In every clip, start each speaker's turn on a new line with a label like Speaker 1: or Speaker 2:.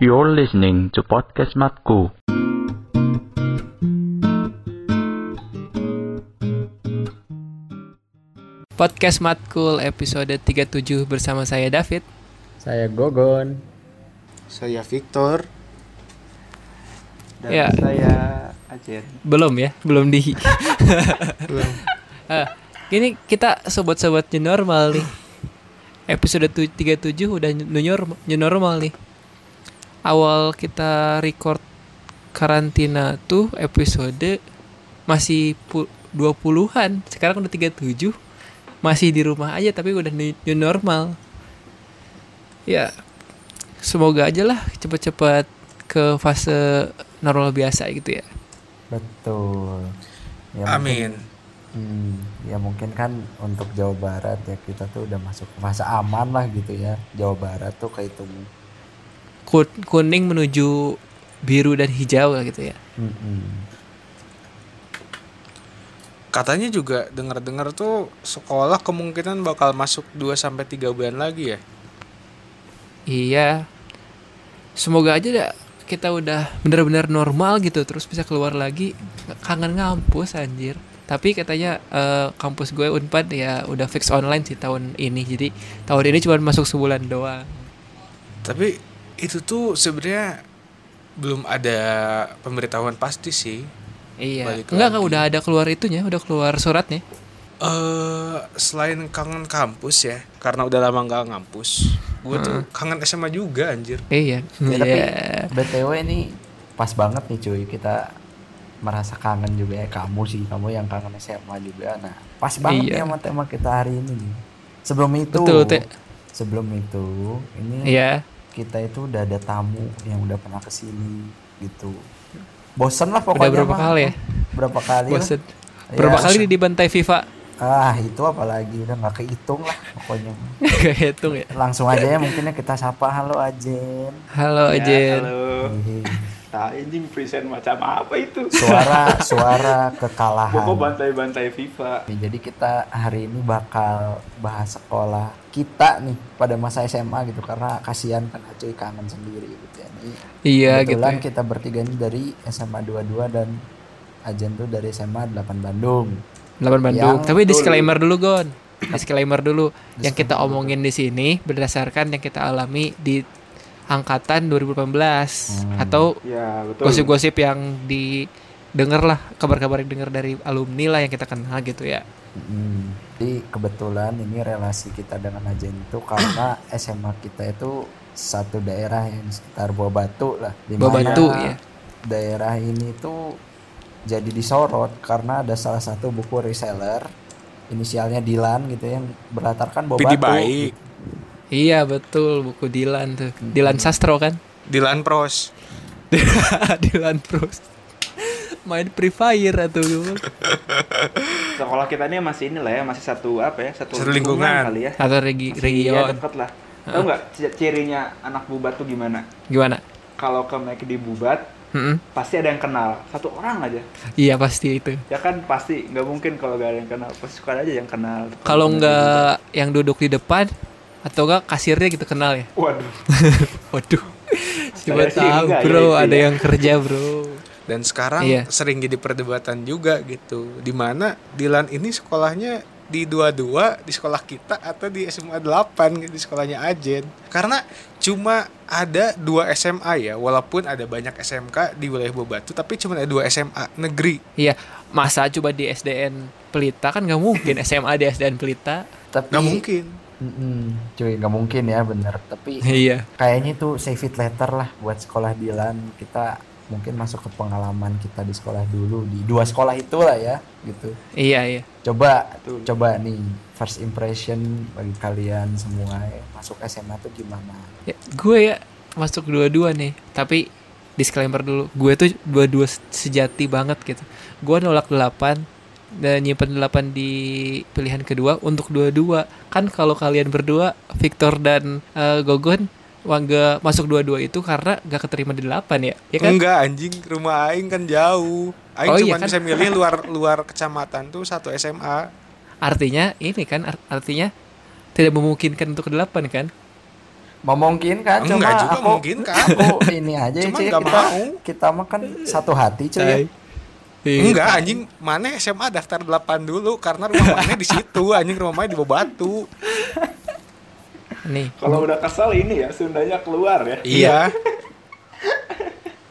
Speaker 1: You're listening to podcast Matku.
Speaker 2: Podcast Matkul episode 37 bersama saya David.
Speaker 3: Saya Gogon.
Speaker 4: Saya Victor dan
Speaker 2: Ya.
Speaker 4: saya Ajen.
Speaker 2: Belum ya, belum di. Eh, Ini kita sobat-sobat new normal nih. Episode tu- 37 udah new norm- new normal nih. Awal kita record karantina tuh episode masih pu- 20-an, sekarang udah 37. Masih di rumah aja tapi udah new, new normal. Ya. Semoga aja lah cepet-cepet ke fase normal biasa gitu ya.
Speaker 3: Betul. Ya,
Speaker 4: Amin.
Speaker 3: hmm, ya mungkin kan untuk Jawa Barat ya kita tuh udah masuk ke fase aman lah gitu ya. Jawa Barat tuh kehitung.
Speaker 2: Ku- kuning menuju biru dan hijau lah gitu ya.
Speaker 3: Mm-mm.
Speaker 4: Katanya juga dengar-dengar tuh sekolah kemungkinan bakal masuk 2 sampai 3 bulan lagi ya.
Speaker 2: Iya. Semoga aja dah kita udah benar-benar normal gitu terus bisa keluar lagi kangen ngampus anjir. Tapi katanya eh, kampus gue Unpad ya udah fix online sih tahun ini. Jadi tahun ini cuma masuk sebulan doang.
Speaker 4: Tapi itu tuh sebenarnya belum ada pemberitahuan pasti sih.
Speaker 2: Iya.
Speaker 4: Balik
Speaker 2: Enggak enggak
Speaker 4: lagi.
Speaker 2: udah ada keluar itunya, udah keluar suratnya.
Speaker 4: Eh selain kangen kampus ya, karena udah lama nggak ngampus. Gue tuh kangen SMA juga anjir.
Speaker 2: Iya.
Speaker 3: Ya, tapi
Speaker 2: Iya.
Speaker 3: BTW ini pas banget nih cuy kita merasa kangen juga ya kamu sih kamu yang kangen SMA juga nah pas banget
Speaker 2: Iya.
Speaker 3: nih sama tema kita hari ini nih sebelum itu
Speaker 2: Betul, Teh.
Speaker 3: sebelum itu ini
Speaker 2: Iya.
Speaker 3: kita itu udah ada tamu yang udah pernah kesini gitu bosen lah
Speaker 2: Udah
Speaker 3: pokoknya
Speaker 2: berapa
Speaker 3: mah.
Speaker 2: kali ya?
Speaker 3: berapa kali lah.
Speaker 2: Bosen.
Speaker 3: Iya.
Speaker 2: Berapa kali di bantai FIFA?
Speaker 3: ah itu apalagi udah nggak kehitung lah pokoknya
Speaker 2: Gak hitung ya.
Speaker 3: langsung aja ya mungkinnya kita sapa halo Ajen
Speaker 2: Halo Ajen.
Speaker 5: Halo.
Speaker 3: Hehe.
Speaker 5: Nah, anjing present macam apa itu?
Speaker 3: suara suara kekalahan
Speaker 5: Pokok bantai-bantai FIFA.
Speaker 3: Ya, jadi kita hari ini bakal bahas sekolah kita nih pada masa SMA gitu karena kasihan kan Acuy kangen sendiri gitu ya. Ini
Speaker 2: Iya gitu.
Speaker 3: kebetulan kita bertiga ini dari SMA 22 dan Ajen tuh dari SMA 8 Bandung.
Speaker 2: 8 gitu. Bandung.
Speaker 3: Yang
Speaker 2: Tapi disclaimer dulu, Gon. Disclaimer dulu. yang kita omongin di sini berdasarkan yang kita alami di angkatan 2018 atau
Speaker 5: Ya, betul.
Speaker 2: gosip-gosip yang didengar lah, kabar-kabar yang dengar dari alumni lah yang kita kenal gitu ya.
Speaker 3: Mm. Jadi kebetulan ini relasi kita dengan Ajen itu karena SMA kita itu satu daerah yang sekitar Buah Batu lah. Di
Speaker 2: Buah
Speaker 3: mana
Speaker 2: Batu, ya.
Speaker 3: Daerah ini tuh jadi disorot karena ada salah satu buku reseller inisialnya Dilan gitu yang berlatarkan Buah
Speaker 4: Pidi
Speaker 3: Batu.
Speaker 4: baik.
Speaker 2: Iya, betul buku Dilan tuh. Dilan Sastro kan?
Speaker 4: Di Lanpros.
Speaker 2: Dilan terus. Main Free Fire atau
Speaker 5: Sekolah kita ini masih ini lah ya, masih satu apa ya? Satu,
Speaker 4: Satu lingkungan.
Speaker 5: kali ya.
Speaker 2: atau regi
Speaker 5: Masih ya,
Speaker 2: region.
Speaker 5: deket lah. Tahu nggak c- cirinya anak bubat tuh gimana?
Speaker 2: Gimana?
Speaker 5: Kalau ke McD bubat,
Speaker 2: Mm-mm.
Speaker 5: pasti ada yang kenal. Satu orang aja.
Speaker 2: Iya pasti itu.
Speaker 5: Ya kan pasti nggak mungkin kalau nggak ada yang kenal. Pasti suka aja yang kenal.
Speaker 2: Kalau
Speaker 5: iya,
Speaker 2: nggak yang duduk di depan atau enggak kasirnya gitu kenal ya.
Speaker 5: Waduh.
Speaker 2: Waduh. Coba
Speaker 5: Saya sih
Speaker 2: tahu
Speaker 5: enggak ya
Speaker 2: bro,
Speaker 5: itu
Speaker 2: ada
Speaker 5: ya.
Speaker 2: yang kerja bro.
Speaker 4: dan sekarang
Speaker 2: Iya.
Speaker 4: sering jadi perdebatan juga gitu dimana Dilan ini sekolahnya di dua-dua di sekolah kita atau di SMA 8 di sekolahnya Ajen karena cuma ada dua SMA ya walaupun ada banyak SMK di wilayah Bobatu tapi cuma ada dua SMA negeri
Speaker 2: Iya, masa coba di SDN Pelita kan nggak mungkin SMA di SDN Pelita.
Speaker 3: Tapi
Speaker 2: Iya.
Speaker 4: nggak mungkin
Speaker 3: Mm-mm. cuy nggak mungkin ya bener. Tapi
Speaker 2: Iya.
Speaker 3: kayaknya itu save it later lah buat sekolah Dilan kita mungkin masuk ke pengalaman kita di sekolah dulu di dua sekolah itulah ya gitu
Speaker 2: Iya, iya.
Speaker 3: coba
Speaker 5: Betul.
Speaker 3: coba nih first impression bagi kalian semua ya, masuk SMA tuh gimana
Speaker 2: Ya, gue ya masuk dua-dua nih, tapi disclaimer dulu, gue tuh dua-dua sejati banget gitu. Gue nolak delapan dan nyimpen delapan di pilihan kedua untuk dua-dua. Kan kalau kalian berdua, Victor dan eh, Gogon, Wangga masuk dua-dua itu karena gak keterima di delapan ya, ya kan?
Speaker 4: enggak anjing rumah Aing kan jauh Aing
Speaker 2: Oh, iya
Speaker 4: cuma
Speaker 2: kan?
Speaker 4: bisa milih luar luar kecamatan tuh satu SMA
Speaker 2: artinya ini kan art- artinya tidak memungkinkan untuk ke delapan kan
Speaker 3: memungkinkan cuma
Speaker 4: Enggak juga
Speaker 3: aku
Speaker 4: memungkinkan.
Speaker 3: aku ini aja
Speaker 4: Cuma
Speaker 3: cuy,
Speaker 4: nggak
Speaker 3: kita
Speaker 4: mau.
Speaker 3: kita mah kan satu hati cuy
Speaker 2: Tai. Iya.
Speaker 4: Enggak anjing, mana SMA daftar 8 dulu karena rumah mana di situ, anjing rumah mana di Batu.
Speaker 2: Nih,
Speaker 5: Kalau udah kesel ini ya Sundanya keluar ya.
Speaker 4: Iya.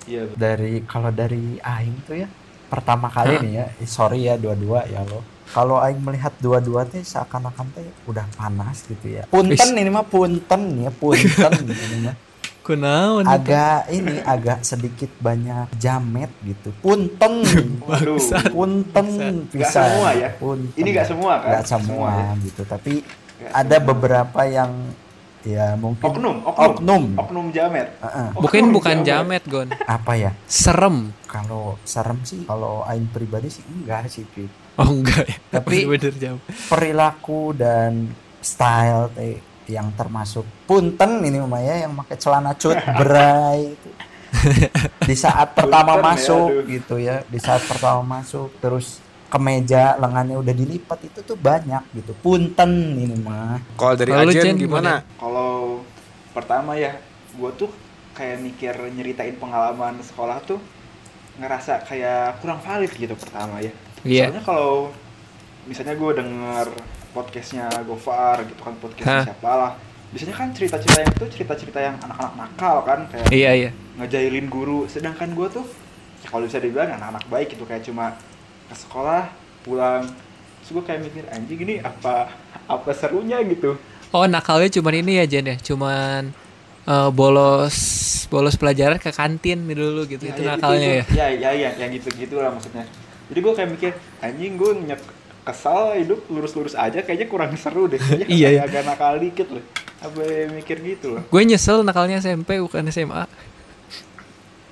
Speaker 5: Iya.
Speaker 3: dari kalau dari aing tuh ya pertama kali nih ya eh, sorry ya dua-dua ya lo kalau aing melihat dua-dua teh seakan-akan teh udah panas gitu ya punten ini mah punten ya punten ini mah
Speaker 2: kunaon itu?
Speaker 3: agak ini agak sedikit banyak jamet gitu punten
Speaker 5: Waduh.
Speaker 3: punten
Speaker 5: Nggak
Speaker 3: bisa
Speaker 5: semua ya?
Speaker 3: punten.
Speaker 5: Ini nggak semua kan?
Speaker 3: Nggak semua,
Speaker 5: Semua ya?
Speaker 3: gitu tapi
Speaker 5: Nggak
Speaker 3: ada beberapa yang ya mungkin
Speaker 5: Oknum, oknum,
Speaker 3: Oknum.
Speaker 5: oknum jamet.
Speaker 3: Heeh.
Speaker 2: Mungkin
Speaker 5: Oknum
Speaker 2: bukan jamet, Gon.
Speaker 3: apa ya
Speaker 2: Serem.
Speaker 3: kalau serem sih kalau aing pribadi sih enggak sih Pi.
Speaker 2: Oh enggak ya.
Speaker 3: Tapi-
Speaker 2: bener jauh.
Speaker 3: perilaku dan style teh yang termasuk punten ini mah ya yang pakai celana cut berai itu. di saat pertama
Speaker 5: Punten ya,
Speaker 3: masuk
Speaker 5: aduh.
Speaker 3: gitu ya di saat pertama masuk terus kemeja lengannya udah dilipat itu tuh banyak gitu punten ini mah
Speaker 4: Kalau dari
Speaker 2: Lalu, Jen,
Speaker 4: Ajen gimana?
Speaker 5: Kalau pertama ya, gue tuh kayak mikir nyeritain pengalaman sekolah tuh ngerasa kayak kurang valid gitu pertama ya.
Speaker 2: Iya.
Speaker 5: Soalnya kalau misalnya gue denger podcastnya Gofar gitu kan
Speaker 2: Hah.
Speaker 5: podcastnya siapa lah. Biasanya kan cerita-cerita yang itu cerita-cerita yang anak-anak nakal kan kayak
Speaker 2: Iya, iya.
Speaker 5: ngejailin guru sedangkan gue tuh ya kalau bisa dibilang anak-anak baik gitu kayak cuma ke sekolah pulang terus gue kayak mikir anjing ini apa apa serunya gitu
Speaker 2: Oh, nakalnya cuman ini ya, Jen ya. Cuman eh, bolos bolos pelajaran ke kantin dulu gitu. itu nakalnya ya.
Speaker 5: ya ya ya yang gitu gitu lah maksudnya jadi gue kayak mikir anjing gue kesal hidup lurus-lurus aja kayaknya kurang seru deh Kayaknya
Speaker 2: Iya, iya.
Speaker 5: agak nakal dikit loh apa mikir gitu loh
Speaker 2: Gue nyesel nakalnya SMP bukan SMA.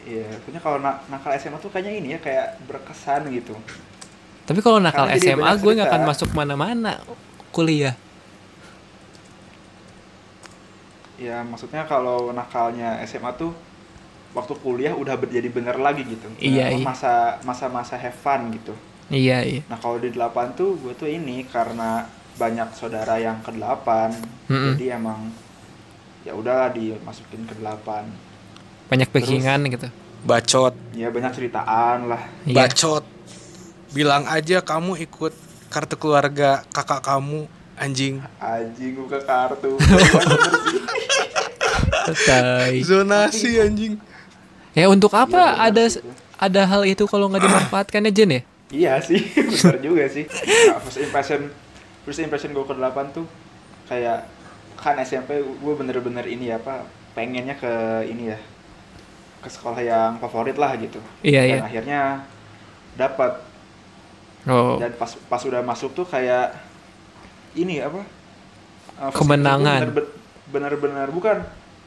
Speaker 5: iya punya kalau na- nakal SMA tuh kayaknya ini ya kayak berkesan gitu
Speaker 2: Tapi kalau nakal
Speaker 5: Karena jadi
Speaker 2: SMA
Speaker 5: banyak
Speaker 2: gue nggak akan
Speaker 5: cerita.
Speaker 2: masuk mana-mana kuliah.
Speaker 5: Ya maksudnya kalau nakalnya SMA tuh waktu kuliah udah ber- jadi bener lagi gitu.
Speaker 2: Iya,
Speaker 5: Apa,
Speaker 2: iya.
Speaker 5: Masa masa-masa have fun gitu.
Speaker 2: Iya, iya.
Speaker 5: Nah kalau di delapan tuh gue tuh ini karena banyak saudara yang ke delapan,
Speaker 2: Mm-mm.
Speaker 5: jadi emang ya udahlah dimasukin ke delapan.
Speaker 2: Banyak backingan gitu.
Speaker 4: Bacot,
Speaker 5: Ya banyak ceritaan lah.
Speaker 2: Iya.
Speaker 4: bacot. Bilang aja kamu ikut kartu keluarga kakak kamu anjing.
Speaker 5: Anjing gue ke kartu. Bener sih.
Speaker 2: Tai.
Speaker 4: Zonasi anjing.
Speaker 2: Ya untuk apa
Speaker 5: Iya, benar
Speaker 2: ada
Speaker 5: sih itu.
Speaker 2: ada hal itu kalau nggak dimanfaatkan ya Jen ya?
Speaker 5: Iya sih, bener juga sih. Nah, first impression, first impression gue ke delapan tuh kayak kan SMP gue bener-bener ini ya apa pengennya ke ini ya ke sekolah yang favorit lah gitu.
Speaker 2: Iya,
Speaker 5: Dan
Speaker 2: iya.
Speaker 5: akhirnya dapat
Speaker 2: Oh,
Speaker 5: dan pas pas udah masuk tuh kayak ini apa uh, first
Speaker 2: Kemenangan.
Speaker 5: impression tuh bener- Bener-bener bukan.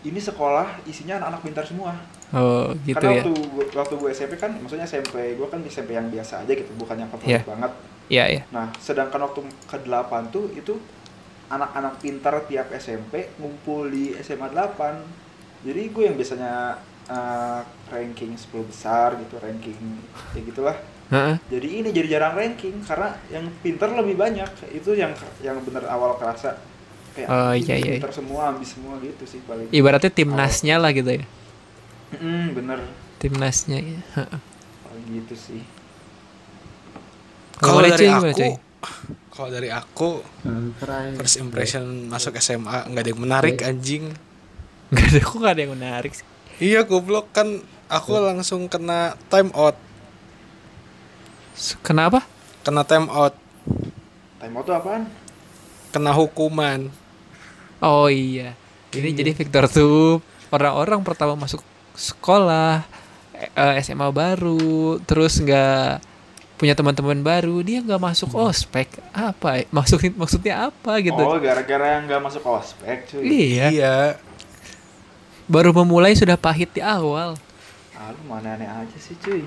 Speaker 5: Ini sekolah isinya anak-anak pintar semua.
Speaker 2: oh gitu
Speaker 5: Karena
Speaker 2: ya.
Speaker 5: waktu gua- waktu gue SMP kan, maksudnya SMP gue kan SMP yang biasa aja gitu, bukan yang favorit
Speaker 2: Iya.
Speaker 5: banget.
Speaker 2: Iya, iya.
Speaker 5: Nah, sedangkan waktu ke-8 tuh itu anak-anak pintar tiap SMP ngumpul di SMA 8. Jadi gue yang biasanya eh, ranking 10 besar gitu, ranking ya gitulah.
Speaker 2: Heeh.
Speaker 5: Jadi ini jadi jarang ranking karena yang pintar lebih banyak. Itu yang yang bener awal kerasa kayak
Speaker 2: Oh,
Speaker 5: "Ih,
Speaker 2: iya, iya.
Speaker 5: pintar semua, ambis semua gitu sih paling.
Speaker 2: Ibaratnya timnasnya lah gitu ya.
Speaker 5: Mm, bener
Speaker 2: Timnasnya. ya. Heeh.
Speaker 5: paling gitu sih.
Speaker 4: Kalau
Speaker 2: Kalau
Speaker 4: dari
Speaker 2: Ece gimana,
Speaker 4: aku,
Speaker 2: Coy?
Speaker 4: kalau dari aku first impression masuk SMA nggak ada yang menarik anjing.
Speaker 2: Gak ada kok gak ada yang menarik sih.
Speaker 4: Iya goblok kan aku langsung kena time out,
Speaker 2: S- Kenapa?
Speaker 4: kena time out,
Speaker 5: Time out tuh apaan?
Speaker 4: kena hukuman.
Speaker 2: Oh iya. Ini jadi Victor tuh orang-orang pertama masuk sekolah eh, eh, SMA baru, terus nggak punya teman-teman baru, dia nggak masuk ospek. Apa? ya? Maksud maksudnya apa gitu?
Speaker 5: Oh, gara-gara yang nggak masuk ospek cuy.
Speaker 2: Iya.
Speaker 4: Iya.
Speaker 2: Baru memulai sudah pahit di awal.
Speaker 5: Ah, lu mana aneh aja sih cuy.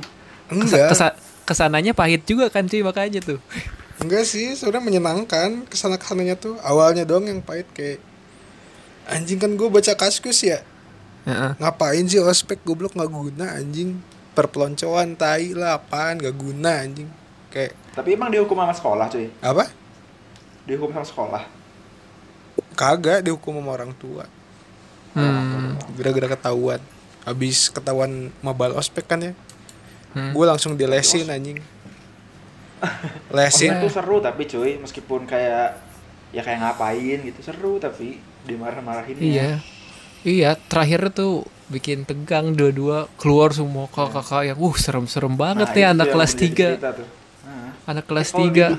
Speaker 2: Kesa-
Speaker 4: Enggak.
Speaker 2: kesa- kesananya pahit juga kan cuy makanya tuh.
Speaker 4: Enggak sih, sebenarnya menyenangkan kesana kesananya tuh awalnya doang yang pahit kayak anjing kan gue baca kaskus ya
Speaker 2: Heeh.
Speaker 4: ngapain sih ospek goblok nggak guna anjing perpeloncoan tai lah apaan nggak guna anjing kayak
Speaker 5: Tapi emang dihukum sama sekolah cuy?
Speaker 4: apa
Speaker 5: Dihukum sama sekolah?
Speaker 4: kagak dihukum sama orang tua
Speaker 2: Hmm.
Speaker 4: gara-gara ketahuan habis ketahuan mobile ospek kan ya
Speaker 2: Hmm.
Speaker 4: gue langsung dilesin anjing
Speaker 2: Iya.
Speaker 4: lesin
Speaker 5: itu seru tapi cuy meskipun kayak ya kayak ngapain gitu seru tapi dimarah-marahin ya.
Speaker 2: Iya. Iya, terakhir tuh bikin tegang dua-dua keluar semua kakak-kakak yang uh serem-serem banget
Speaker 5: Nah,
Speaker 2: nih anak kelas 3. Anak kelas
Speaker 5: kalau
Speaker 2: 3.
Speaker 5: Nah,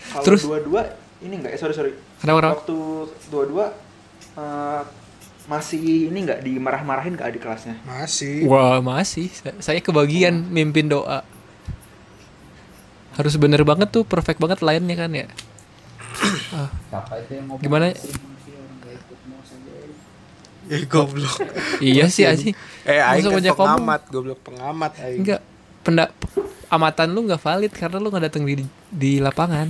Speaker 5: Kalau
Speaker 2: Terus-
Speaker 5: dua-dua ini enggak eh sorry sorry.
Speaker 2: Kenapa, kenapa?
Speaker 5: Waktu dua-dua eh, masih ini enggak dimarah-marahin ke adik kelasnya.
Speaker 4: masih
Speaker 2: Wah, masih. Sa- Saya kebagian mimpin doa. Harus bener banget tuh, perfect banget lainnya kan ya. Ah,
Speaker 6: Siapa itu yang ngomong?
Speaker 2: gimana?
Speaker 4: ya goblok
Speaker 2: Iya sih anjing.
Speaker 4: eh aing
Speaker 2: Langsung
Speaker 4: kan
Speaker 2: banyak ngomong.
Speaker 4: pengamat goblok pengamat aing
Speaker 2: Enggak, pendak amatan lu nggak valid karena lu nggak datang di di lapangan.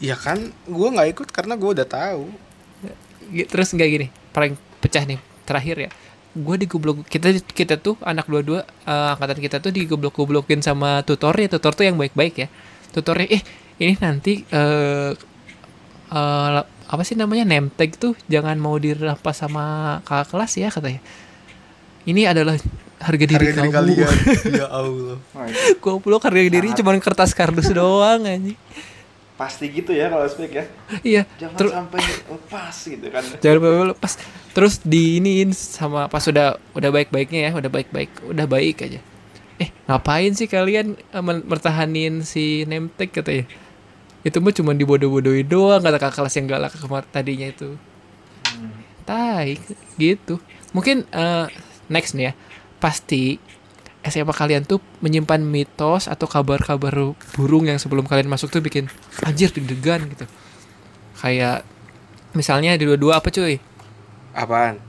Speaker 4: ya kan gue nggak ikut karena gue udah tahu
Speaker 2: G- Ya, Terus nggak gini, paling pecah nih terakhir ya. Gue digoblok kita kita tuh anak dua-dua eh, angkatan kita tuh digoblok-goblokin sama tutornya. Tutor tuh yang baik-baik ya. Tutornya eh ini nanti eh eh, la- apa sih namanya name tag tuh jangan mau dirampas sama kakak kelas ya katanya. Ini adalah harga diri
Speaker 4: harga diri
Speaker 2: kamu.
Speaker 4: kalian Nah. ya allah
Speaker 5: Wah, itu
Speaker 2: Goblok harga diri cuma kertas kardus doang anjing.
Speaker 5: pasti gitu ya kalau spek ya.
Speaker 2: Iya.
Speaker 5: Jangan
Speaker 2: terus-
Speaker 5: sampai lepas gitu kan.
Speaker 2: jangan sampai lepas terus diiniin sama pas udah udah baik baiknya ya udah baik baik udah baik aja eh ngapain sih kalian eh, men- mertahanin si nemtek katanya itu mah cuma dibodoh bodohi doang kata kakak kelas yang galak kemar tadinya itu tai gitu mungkin eh, next nih ya pasti SMA kalian tuh menyimpan mitos atau kabar-kabar burung yang sebelum kalian masuk tuh bikin anjir deg-degan gitu kayak misalnya di dua-dua apa cuy
Speaker 4: apaan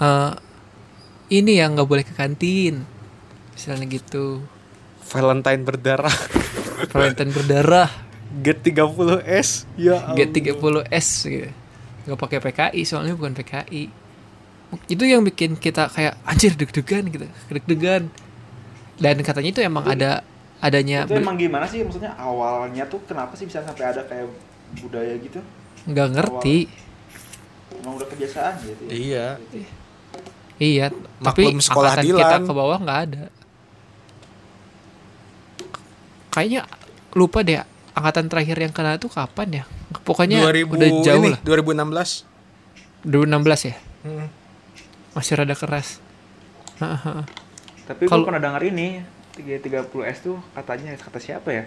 Speaker 2: Eh, ini yang nggak boleh ke kantin misalnya gitu
Speaker 4: Valentine berdarah
Speaker 2: Valentine berdarah
Speaker 4: get 30 s ya allah.
Speaker 2: G30S gitu nggak pakai PKI soalnya bukan PKI itu yang bikin kita kayak anjir deg-degan gitu deg-degan dan katanya itu emang ada adanya
Speaker 5: Itu emang gimana sih maksudnya awalnya tuh kenapa sih bisa sampai ada kayak budaya gitu?
Speaker 2: nggak ngerti
Speaker 5: Emang udah kebiasaan gitu ya.
Speaker 4: iya
Speaker 2: Iya, tapi
Speaker 4: Maklum sekolah
Speaker 2: angkatan
Speaker 4: Dilan.
Speaker 2: kita ke bawah nggak ada. Kayaknya lupa deh angkatan terakhir yang kena itu kapan ya? Pokoknya
Speaker 4: 2000
Speaker 2: udah jauh
Speaker 4: ini,
Speaker 2: lah.
Speaker 4: 2016
Speaker 2: 2016 ya?
Speaker 4: Hmm.
Speaker 2: Masih rada keras. Hahaha.
Speaker 5: Tapi gue
Speaker 2: Kalau-
Speaker 5: pernah dengar ini 330S tuh katanya kata siapa ya?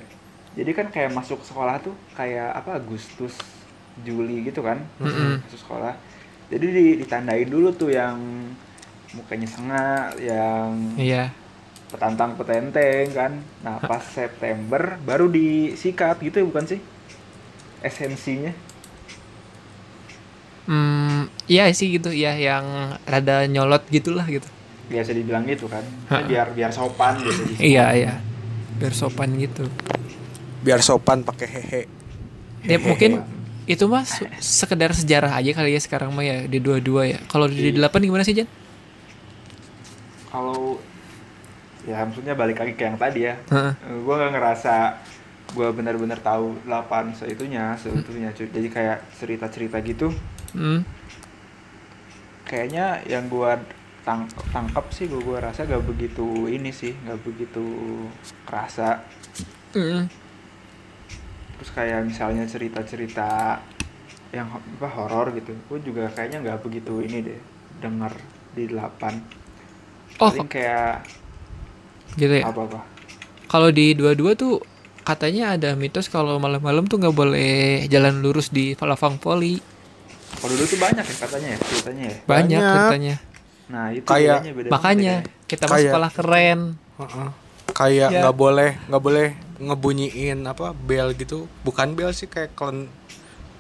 Speaker 5: Jadi kan kayak masuk sekolah tuh kayak apa Agustus Juli gitu kan
Speaker 2: Mm-mm.
Speaker 5: masuk sekolah. Jadi di- ditandain dulu tuh yang mukanya sengak, yang
Speaker 2: Iya.
Speaker 5: petantang petenteng kan. Nah pas September baru disikat gitu ya bukan sih? Esensinya.
Speaker 2: Hmm, iya sih gitu, ya yang rada nyolot gitulah gitu.
Speaker 5: Biasa dibilang gitu kan. Biar biar sopan gitu.
Speaker 2: Iya, iya. Biar sopan gitu.
Speaker 4: biar sopan pakai hehe
Speaker 2: Ya mungkin itu mah su- sekedar sejarah aja kali ya sekarang mah ya di dua-dua ya. Kalau di delapan gimana sih, Jan?
Speaker 5: Kalau ya maksudnya balik lagi ke yang tadi ya.
Speaker 2: Heeh.
Speaker 5: gue nggak ngerasa gue benar-benar tahu 8 seitunya seutuhnya cuy jadi kayak cerita-cerita gitu
Speaker 2: Hmm.
Speaker 5: kayaknya yang gue tang tangkap sih gue gua rasa gak begitu ini sih gak begitu kerasa
Speaker 2: Mm.
Speaker 5: terus kayak misalnya cerita-cerita yang ho- apa horor gitu gue juga kayaknya nggak begitu ini deh denger di 8
Speaker 2: Oh,
Speaker 5: Paling kayak
Speaker 2: gitu ya.
Speaker 5: apa apa
Speaker 2: Kalau di dua-dua tuh katanya ada mitos kalau malam-malam tuh nggak boleh jalan lurus di Lavang Poli.
Speaker 5: kalau dulu tuh banyak ya katanya ya ceritanya ya
Speaker 2: Banyak,
Speaker 4: Banyak.
Speaker 2: ceritanya.
Speaker 5: nah itu
Speaker 4: Kayak-
Speaker 5: bedanya beda
Speaker 2: Makanya
Speaker 5: beda ya.
Speaker 2: kita mah
Speaker 4: Kayak-
Speaker 2: sekolah keren.
Speaker 4: Heeh. kayak
Speaker 2: Ya.
Speaker 4: nggak boleh nggak boleh ngebunyiin apa bel gitu bukan bel sih kayak kelen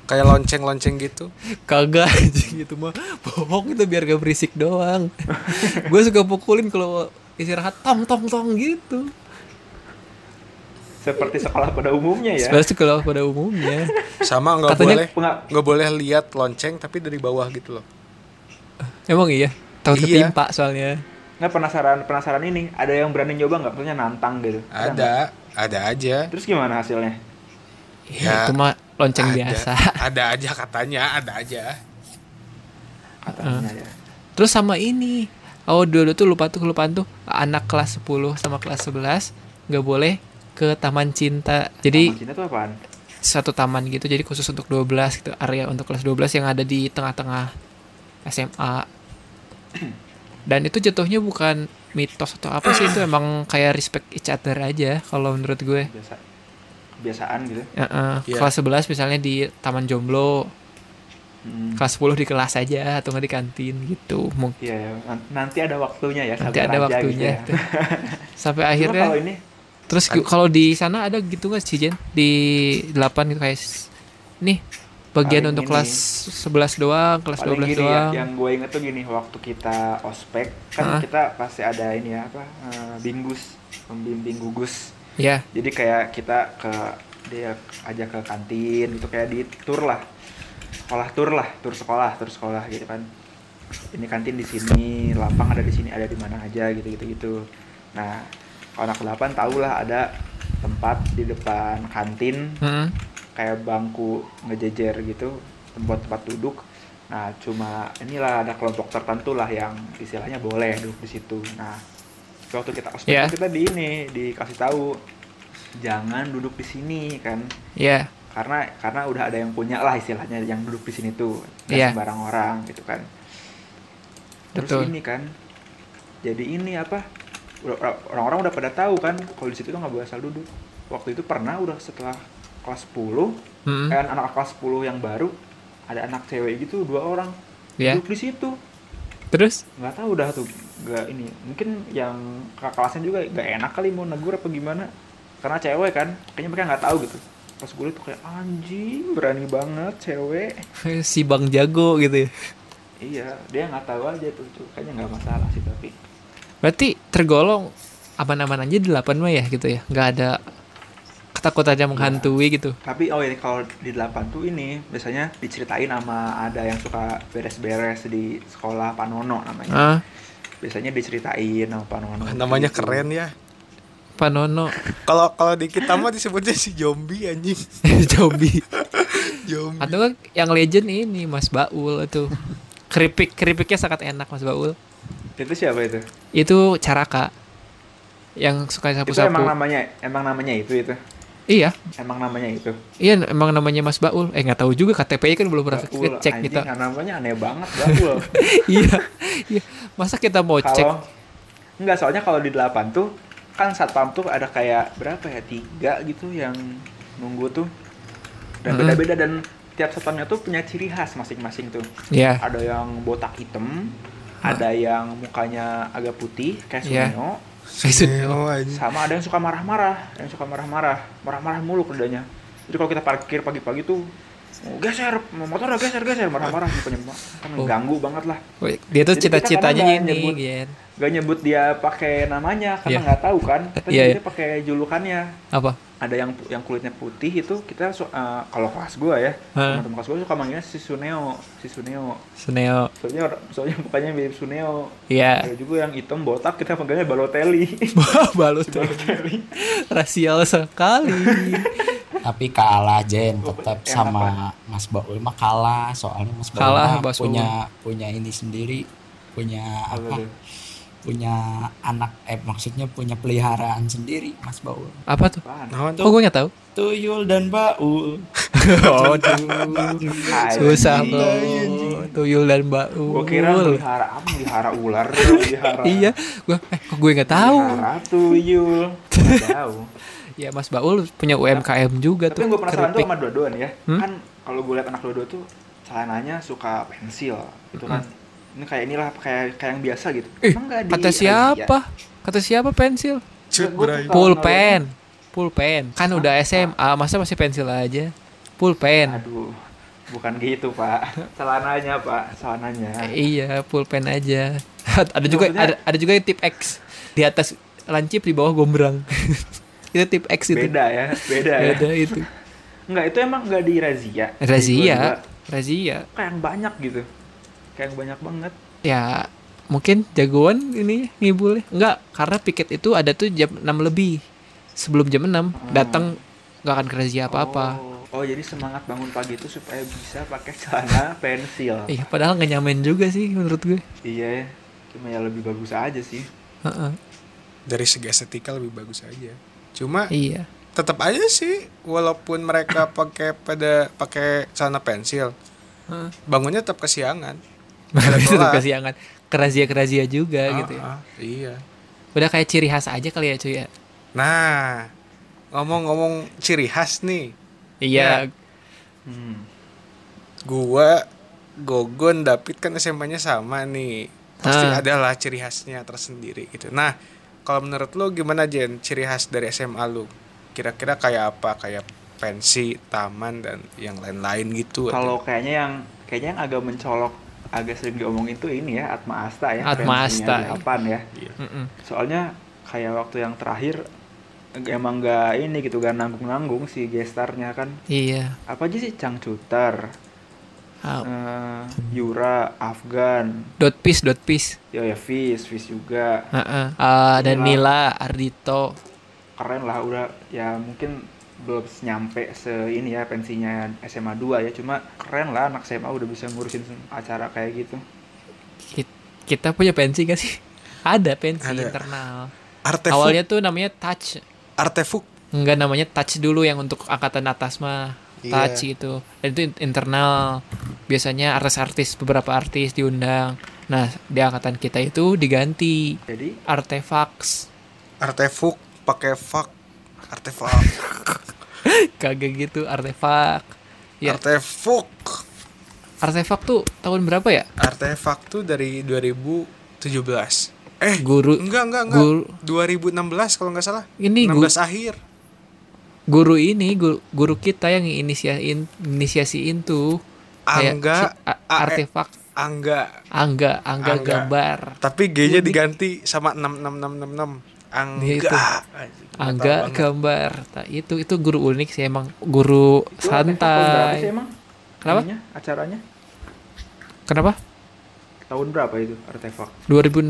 Speaker 4: kayak lonceng lonceng gitu
Speaker 2: Kagak anjing itu mah bohong itu biar gak berisik doang. Gue suka pukulin kalau istirahat tong tong tong gitu.
Speaker 5: seperti sekolah pada umumnya
Speaker 4: Iya.
Speaker 5: ya
Speaker 2: Sebenarnya kalau pada umumnya
Speaker 4: sama nggak
Speaker 2: Katanya
Speaker 4: boleh
Speaker 5: Penga-
Speaker 4: nggak boleh lihat lonceng tapi dari bawah gitu loh
Speaker 2: emang iya takut
Speaker 4: Iya.
Speaker 2: ketimpa soalnya.
Speaker 5: Nggak penasaran penasaran ini ada yang berani nyoba nggak maksudnya nantang gitu nggak?
Speaker 4: ada ada aja
Speaker 5: terus gimana hasilnya
Speaker 2: Ya,
Speaker 4: Ya,
Speaker 2: itu mah lonceng
Speaker 4: ada,
Speaker 2: biasa.
Speaker 4: ada aja katanya ada aja
Speaker 2: Eh,
Speaker 5: katanya ya
Speaker 2: Terus sama ini. Oh, dulu tuh lupa tuh kelupaan tuh anak kelas 10 sama kelas 11 nggak boleh ke Taman Cinta. Jadi
Speaker 5: Taman Cina tuh apaan
Speaker 2: satu taman gitu jadi khusus untuk 12 gitu area untuk kelas 12 yang ada di tengah-tengah SMA dan itu jatuhnya bukan mitos atau apa sih itu emang kayak respect each other aja kalau menurut gue
Speaker 5: biasa kebiasaan gitu
Speaker 2: Heeh.
Speaker 4: Iya.
Speaker 2: kelas 11 misalnya di taman jomblo
Speaker 5: Hmm.
Speaker 2: kelas 10 di kelas aja atau nggak di kantin gitu mungkin
Speaker 5: Iya ya, Nan- nanti ada waktunya ya.
Speaker 2: nanti ada
Speaker 5: sabar aja
Speaker 2: waktunya
Speaker 5: Gitu ya.
Speaker 2: sampai
Speaker 5: Cuma
Speaker 2: akhirnya
Speaker 5: kalau ini
Speaker 2: Terus gu- kalau di sana ada gitu nggak sih Jen? Di 8 gitu kayak s- nih bagian
Speaker 5: Paling
Speaker 2: untuk
Speaker 5: ini.
Speaker 2: kelas 11 doang, kelas
Speaker 5: paling
Speaker 2: 12
Speaker 5: gini ya,
Speaker 2: doang.
Speaker 5: yang gue inget tuh gini, waktu kita ospek
Speaker 2: Ah.
Speaker 5: kan kita pasti ada ini ya apa eh, binggus, pembimbing gugus.
Speaker 2: Ya,
Speaker 5: Jadi kayak kita ke dia ajak ke kantin gitu kayak di tour lah, sekolah tour lah, tour sekolah, tour sekolah gitu kan. Ini kantin di sini, lapang ada di sini, ada di mana aja gitu gitu gitu. Nah anak delapan tahulah ada tempat di depan kantin
Speaker 2: heeh.
Speaker 5: kayak bangku ngejejer gitu tempat tempat duduk nah cuma inilah ada kelompok tertentu lah yang istilahnya boleh duduk di situ nah waktu kita ospek
Speaker 2: Iya.
Speaker 5: tuh kita di ini dikasih tahu jangan duduk di sini kan
Speaker 2: ya,
Speaker 5: karena karena udah ada yang punya lah istilahnya yang duduk di sini tuh nggak
Speaker 2: Iya.
Speaker 5: sembarang orang gitu kan terus
Speaker 2: Betul.
Speaker 5: ini kan jadi ini apa udah- orang-orang udah pada tahu kan kalau di situ tuh nggak boleh asal duduk waktu itu pernah udah setelah kelas 10
Speaker 2: heeh.
Speaker 5: kan anak kelas 10 yang baru ada anak cewek gitu dua orang
Speaker 2: Ya.
Speaker 5: duduk di situ
Speaker 2: Terus
Speaker 5: nggak tahu dah tuh nggak ini mungkin yang kakak kelasnya juga nggak enak kali mau negur apa gimana karena cewek kan kayaknya mereka nggak tahu gitu pas gue liat tuh kayak anjing berani banget cewek
Speaker 2: si Bang Jago gitu ya.
Speaker 5: iya dia nggak tahu aja tuh tuh. kayaknya nggak masalah sih tapi
Speaker 2: Berarti tergolong aman-aman aja di 8 mah ya gitu ya. nggak ada ketakutannya menghantui gitu.
Speaker 5: tapi oh ini kalau di delapan tuh ini biasanya diceritain sama ada yang suka beres-beres di sekolah Panono namanya
Speaker 2: Ah,
Speaker 5: biasanya diceritain sama Panono
Speaker 4: Wah, namanya
Speaker 5: gitu.
Speaker 4: keren ya.
Speaker 2: Panono
Speaker 4: Kalau kalau di kita mah disebutnya si zombie anjing.
Speaker 2: Jobi.
Speaker 4: Zombie.
Speaker 2: Atau kan yang legend ini Mas Baul itu. Keripik keripiknya sangat enak Mas Baul.
Speaker 5: itu siapa itu
Speaker 2: itu caraka yang suka
Speaker 5: itu emang
Speaker 2: sapu-sapu
Speaker 5: namanya emang namanya itu itu
Speaker 2: iya
Speaker 5: emang namanya itu
Speaker 2: iya emang namanya Mas Baul eh nggak tahu juga KTP kan belum pernah
Speaker 5: Baul,
Speaker 2: cek
Speaker 5: anjing,
Speaker 2: kita
Speaker 5: namanya aneh banget Baul
Speaker 2: iya iya masa kita mau cek
Speaker 5: kalau enggak soalnya kalau di delapan tuh kan satpam tuh ada kayak berapa ya tiga gitu yang nunggu tuh dan
Speaker 2: Mm-mm.
Speaker 5: beda-beda dan tiap satpamnya tuh punya ciri khas masing-masing tuh
Speaker 2: ya
Speaker 5: ada yang botak hitam ada yang mukanya agak putih kayak
Speaker 2: Iya.
Speaker 5: Suneo
Speaker 4: Suneo anjing.
Speaker 5: sama ada yang suka marah-marah ada yang suka marah-marah marah-marah mulu kerjanya jadi kalau kita parkir pagi-pagi tuh oh, geser mau motor udah geser geser marah-marah bukannya kan
Speaker 2: Oh.
Speaker 5: ganggu banget lah
Speaker 2: dia tuh
Speaker 5: Jadi kita
Speaker 2: cita-citanya
Speaker 5: kadang nggak
Speaker 2: ini
Speaker 5: nyebut.
Speaker 2: Gen.
Speaker 5: gak nyebut dia pakai namanya karena
Speaker 2: Iya.
Speaker 5: nggak tahu kan kita
Speaker 2: Iya,
Speaker 5: nyebutnya pakai julukannya
Speaker 2: apa
Speaker 5: ada yang yang kulitnya putih itu kita su- eh, kalau kelas gua ya
Speaker 2: Hah.
Speaker 5: teman-teman kelas gua suka manggilnya si Suneo si Suneo
Speaker 2: Suneo
Speaker 5: soalnya or- soalnya mukanya mirip Suneo
Speaker 2: ya
Speaker 5: ada juga yang hitam botak kita panggilnya Balotelli
Speaker 2: balut rasial sekali
Speaker 6: Tapi kalah Jen tetap
Speaker 5: Yang
Speaker 6: sama Mas Baul
Speaker 3: eh,
Speaker 6: mah kalah soalnya Mas Baul
Speaker 2: Kalah,
Speaker 6: mah
Speaker 2: Mas
Speaker 6: punya punya ini sendiri punya
Speaker 5: Apa
Speaker 6: apa
Speaker 5: tuh?
Speaker 6: punya anak eh maksudnya punya peliharaan sendiri Mas Baul
Speaker 2: apa tuh
Speaker 5: Apaan?
Speaker 4: Naon
Speaker 2: oh
Speaker 4: tuh?
Speaker 2: gue nggak tahu
Speaker 6: tuyul dan baul
Speaker 2: oh,
Speaker 5: Hai,
Speaker 2: susah
Speaker 5: iya, anjing.
Speaker 2: bro tuyul dan baul
Speaker 5: Gue kira melihara apa? Melihara ular, melihara.
Speaker 2: iya gue eh kok gue nggak tahu
Speaker 5: Melihara tuyul. Nggak tahu.
Speaker 2: Ya Mas Baul punya UMKM juga
Speaker 5: Iya. Tapi
Speaker 2: tuh.
Speaker 5: yang gue penasaran tuh
Speaker 2: keripik.
Speaker 5: sama dua-dua nih ya.
Speaker 2: Hmm?
Speaker 5: Kan kalau gue liat anak dua-dua tuh celananya suka pensil gitu kan. Ini kayak inilah kayak kayak yang biasa gitu.
Speaker 2: Hmm. Ih,
Speaker 5: Emang nggak di iya.
Speaker 2: Kata siapa? Kata siapa pensil?
Speaker 4: Cut, bray.
Speaker 5: Kalau
Speaker 2: Pulpen. Pulpen. Kan udah SMA, masa masih pensil aja?
Speaker 5: Asia?
Speaker 2: Pulpen.
Speaker 5: Aduh, bukan gitu pak. Celananya pak, celananya.
Speaker 2: Eh, Iya, pulpen aja. ada juga
Speaker 5: Maksudnya-
Speaker 2: ada, ada juga yang tip X. Di atas lancip di bawah gombrang. itu tip X itu.
Speaker 5: Beda ya, beda ya.
Speaker 2: Beda itu.
Speaker 5: Enggak, itu emang nggak di razia. Di dua-dua.
Speaker 2: Razia. Razia.
Speaker 5: Kayak yang banyak gitu. Kayak yang banyak banget.
Speaker 2: Ya mungkin jagoan ini ngibulnya enggak karena piket itu ada tuh jam 6 lebih sebelum jam 6 datang nggak akan kerja apa-apa
Speaker 5: Oh. Oh jadi semangat bangun pagi itu supaya bisa pakai celana pensil.
Speaker 2: Iya, padahal nggak nyamain juga sih menurut gue.
Speaker 5: Iya, cuma ya lebih bagus aja sih.
Speaker 2: Heeh,
Speaker 4: dari segi estetika lebih bagus aja cuma
Speaker 2: iya.
Speaker 4: tetap aja sih walaupun mereka pakai pada pakai celana pensil
Speaker 2: Heeh.
Speaker 4: bangunnya tetap kesiangan
Speaker 2: Habis itu
Speaker 4: telat.
Speaker 2: kesiangan. Kerazia-kerazia juga gitu ya.
Speaker 4: Ah, ah, iya
Speaker 2: Udah kayak ciri khas aja kali ya cuy ya.
Speaker 4: nah ngomong-ngomong ciri khas nih
Speaker 2: Iya.
Speaker 5: Hmm.
Speaker 4: gua Gogon David kan SMA-nya sama nih pasti
Speaker 2: Ah.
Speaker 4: adalah ciri khasnya tersendiri gitu nah kalau menurut lo gimana Jen ciri khas dari SMA lu kira-kira kayak apa kayak pensi taman dan yang lain-lain gitu
Speaker 5: Kalau
Speaker 2: ya.
Speaker 5: kayaknya yang kayaknya yang agak mencolok agak sering diomongin tuh ini ya Atma Asta ya.
Speaker 2: Atma Asta. Iya.
Speaker 5: Kapan ya?
Speaker 2: Mm-mm.
Speaker 5: Soalnya kayak waktu yang terakhir emang gak ini gitu gak nanggung-nanggung si gestarnya kan
Speaker 2: Iya.
Speaker 5: apa aja sih Cangcuter,
Speaker 2: Ah,
Speaker 5: eh, Yura, Afgan,
Speaker 2: Dot piece, dot piece.
Speaker 5: ya ya Fis, Fis juga
Speaker 2: Heeh. Ah, dan Nila, Ardito.
Speaker 5: keren lah udah ya mungkin belum nyampe se ini ya pensinya SMA 2 ya cuma keren lah anak SMA udah bisa ngurusin acara kayak gitu
Speaker 2: Ki- Kita punya pensi gak sih? Ada pensi
Speaker 4: Ada.
Speaker 2: internal.
Speaker 4: artefuk
Speaker 2: Awalnya tuh namanya touch.
Speaker 4: artefuk
Speaker 2: Enggak namanya touch dulu yang untuk angkatan atas mah. Touch gitu. Dan itu in- internal. Biasanya artis-artis beberapa artis diundang. Nah, di angkatan kita itu diganti
Speaker 5: jadi
Speaker 2: artefaks.
Speaker 4: artefuk pakai fak artefak
Speaker 2: Kagak gitu artefak. Ya,
Speaker 4: artefuk
Speaker 2: artefak tuh tahun berapa ya?
Speaker 4: artefak tuh dari 2017 eh
Speaker 2: Guru
Speaker 4: enggak enggak enggak
Speaker 2: Guru.
Speaker 4: 2016 kalau nggak salah
Speaker 2: ini
Speaker 4: 16
Speaker 2: guru,
Speaker 4: akhir
Speaker 2: guru ini guru, guru kita yang inisiasiin inisiasiin tuh kayak
Speaker 4: angga
Speaker 2: si- a-
Speaker 4: A- E-
Speaker 2: artefak
Speaker 4: angga
Speaker 2: angga, angga
Speaker 4: Angga.
Speaker 2: gambar
Speaker 4: tapi
Speaker 2: Unik.
Speaker 4: G-nya diganti sama 6666
Speaker 2: Ya itu.
Speaker 4: angga
Speaker 2: angga gambar nah, itu itu guru unik sih emang guru
Speaker 5: Itu tahun berapa
Speaker 2: santai
Speaker 5: sih emang
Speaker 2: kenapa
Speaker 5: Ininya, acaranya
Speaker 2: kenapa
Speaker 5: tahun berapa itu artefak
Speaker 2: 2016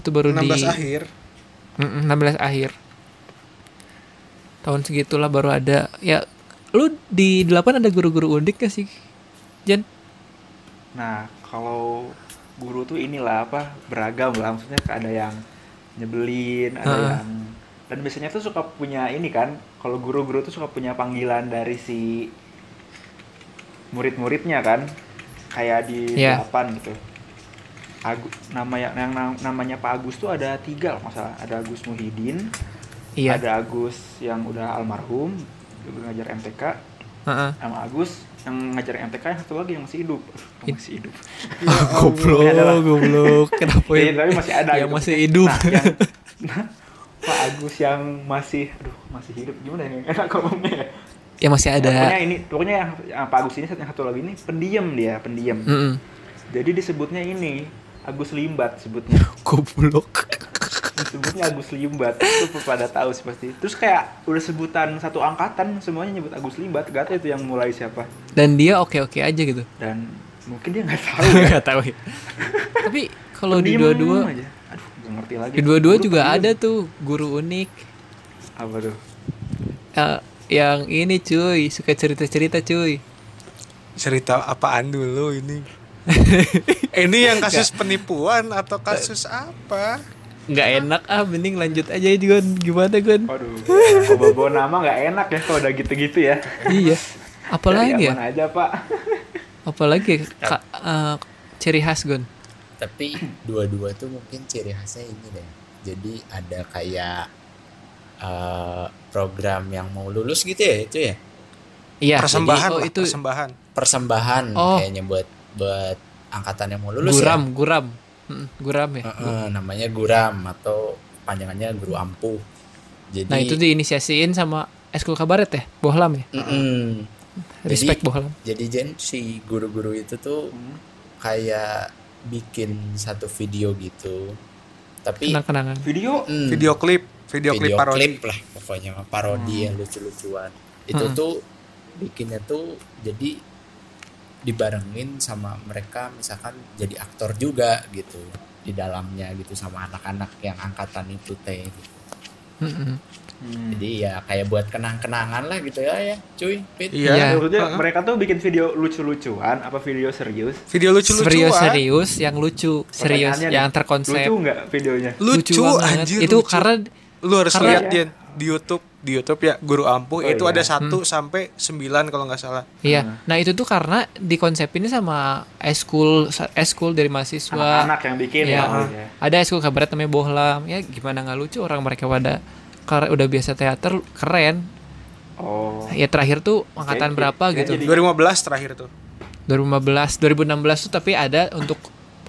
Speaker 2: 2017 itu baru
Speaker 4: 16
Speaker 2: di
Speaker 4: akhir
Speaker 2: Mm-mm, 16 akhir tahun segitulah baru ada ya lu di 8 ada guru-guru unik gak sih Jan
Speaker 5: nah kalau guru tuh inilah apa beragam lah maksudnya ada yang nyebelin ada
Speaker 2: Heeh.
Speaker 5: yang dan biasanya tuh suka punya ini kan kalau guru-guru tuh suka punya panggilan dari si murid-muridnya kan kayak di
Speaker 2: Iya.
Speaker 5: delapan gitu Agu, nama yang, yang nam- namanya Pak Agus tuh ada tiga loh masalah ada Agus Muhyiddin
Speaker 2: iya
Speaker 5: ada Agus yang udah almarhum dia ngajar MTK
Speaker 2: Heeh.
Speaker 5: sama Agus yang ngajar MTK yang satu lagi yang masih hidup yang masih hidup Ini adalah-
Speaker 2: goblok goblok kenapa
Speaker 5: Iya,
Speaker 2: ya?
Speaker 5: tapi masih ada
Speaker 2: yang
Speaker 5: gitu.
Speaker 2: masih hidup
Speaker 5: Nah, yang- nah, Pak Agus yang masih aduh masih hidup gimana yang enak ngomongnya ya?
Speaker 2: yang masih ada
Speaker 5: pokoknya ini pokoknya yang, yang Pak Agus ini yang satu lagi ini pendiam dia pendiam
Speaker 2: Mm-mm.
Speaker 5: jadi disebutnya ini Agus Limbat sebutnya
Speaker 2: goblok
Speaker 5: disebutnya Agus Limbat itu pada tahu sih pasti terus kayak udah sebutan satu angkatan semuanya nyebut Agus Limbat gak tahu itu yang mulai siapa
Speaker 2: dan dia oke oke aja gitu
Speaker 5: dan mungkin dia nggak tahu ya
Speaker 2: nggak tahu ya tapi kalau di
Speaker 5: Pendiam
Speaker 2: dua-dua
Speaker 5: aja. aduh gak ngerti lagi
Speaker 2: di dua-dua
Speaker 5: Guru
Speaker 2: juga
Speaker 5: pendiam.
Speaker 2: ada tuh guru unik
Speaker 5: apa tuh
Speaker 2: Eh, yang ini cuy suka cerita cerita cuy
Speaker 4: cerita apaan dulu ini ini yang kasus penipuan atau kasus apa
Speaker 2: nggak enak ah mending lanjut aja Gon gimana Gon
Speaker 5: Waduh, bawa bawa nama nggak enak ya kalau udah gitu-gitu ya.
Speaker 2: iya
Speaker 5: Dari
Speaker 2: apalagi ya
Speaker 5: aman aja pak.
Speaker 2: apalagi ya? Ka- eh, ciri khas Gon
Speaker 3: tapi dua-dua tuh mungkin ciri khasnya ini deh jadi ada kayak eh, program yang mau lulus gitu ya itu ya
Speaker 2: iya
Speaker 4: persembahan
Speaker 2: jadi- oh,
Speaker 4: lah,
Speaker 2: itu
Speaker 4: persembahan
Speaker 3: persembahan
Speaker 2: Oh.
Speaker 3: kayaknya buat buat angkatan yang mau lulus
Speaker 2: guram
Speaker 3: ya
Speaker 2: guram Mm, guram ya
Speaker 3: Heeh, Eh, namanya guram atau panjangannya guru ampuh jadi
Speaker 2: nah itu diinisiasiin sama eskul kabaret ya bohlam ya
Speaker 3: Mm-mm.
Speaker 2: respect
Speaker 3: Jadi-
Speaker 2: bohlam
Speaker 3: jadi Jen si guru-guru itu tuh
Speaker 5: Hmm.
Speaker 3: kayak bikin satu video gitu tapi
Speaker 2: kenang kenangan
Speaker 5: Video
Speaker 2: Hmm.
Speaker 3: mm,
Speaker 4: video klip video, klip parodi
Speaker 3: klip lah pokoknya mah, parodi yang lucu-lucuan itu
Speaker 2: Hmm.
Speaker 3: tuh bikinnya tuh jadi dibarengin sama mereka misalkan jadi aktor juga gitu di dalamnya gitu sama anak-anak yang angkatan itu teh gitu.
Speaker 2: Mm-mm.
Speaker 5: Hmm.
Speaker 3: Jadi ya kayak buat kenang-kenangan lah gitu ya ya, cuy. Pit.
Speaker 4: Iya.
Speaker 2: Iya.
Speaker 5: Maksudnya
Speaker 4: Heeh.
Speaker 5: mereka tuh bikin video lucu-lucuan apa video serius?
Speaker 4: Video
Speaker 2: serius
Speaker 4: lucu-lucuan.
Speaker 2: serius yang lucu serius
Speaker 5: ah. Pertanyaannya
Speaker 2: yang
Speaker 5: nih,
Speaker 2: terkonsep
Speaker 5: Lucu nggak videonya?
Speaker 4: Lucu,
Speaker 2: banget.
Speaker 4: anjir.
Speaker 2: itu
Speaker 4: lucu.
Speaker 2: karena
Speaker 4: lu harus
Speaker 2: karena-
Speaker 4: lihat Jen, di YouTube, di YouTube ya Guru Ampuh
Speaker 5: Oh,
Speaker 4: itu
Speaker 5: iya.
Speaker 4: ada
Speaker 2: Hmm.
Speaker 4: 1 sampai 9 kalau nggak salah.
Speaker 2: iya
Speaker 5: Hmm.
Speaker 2: nah itu tuh karena dikonsepinnya sama eskul eskul dari mahasiswa
Speaker 5: Anak-anak yang bikin
Speaker 2: Iya.
Speaker 5: ya.
Speaker 2: ada eskul kabaret namanya bohlam ya gimana nggak lucu orang mereka pada kar- udah biasa teater keren
Speaker 5: Oh.
Speaker 2: ya terakhir tuh angkatan
Speaker 5: Jadi-
Speaker 2: berapa
Speaker 5: jadi-
Speaker 2: gitu
Speaker 5: jadi-
Speaker 4: 2015 terakhir tuh.
Speaker 2: 2015 2016 tuh tapi ada untuk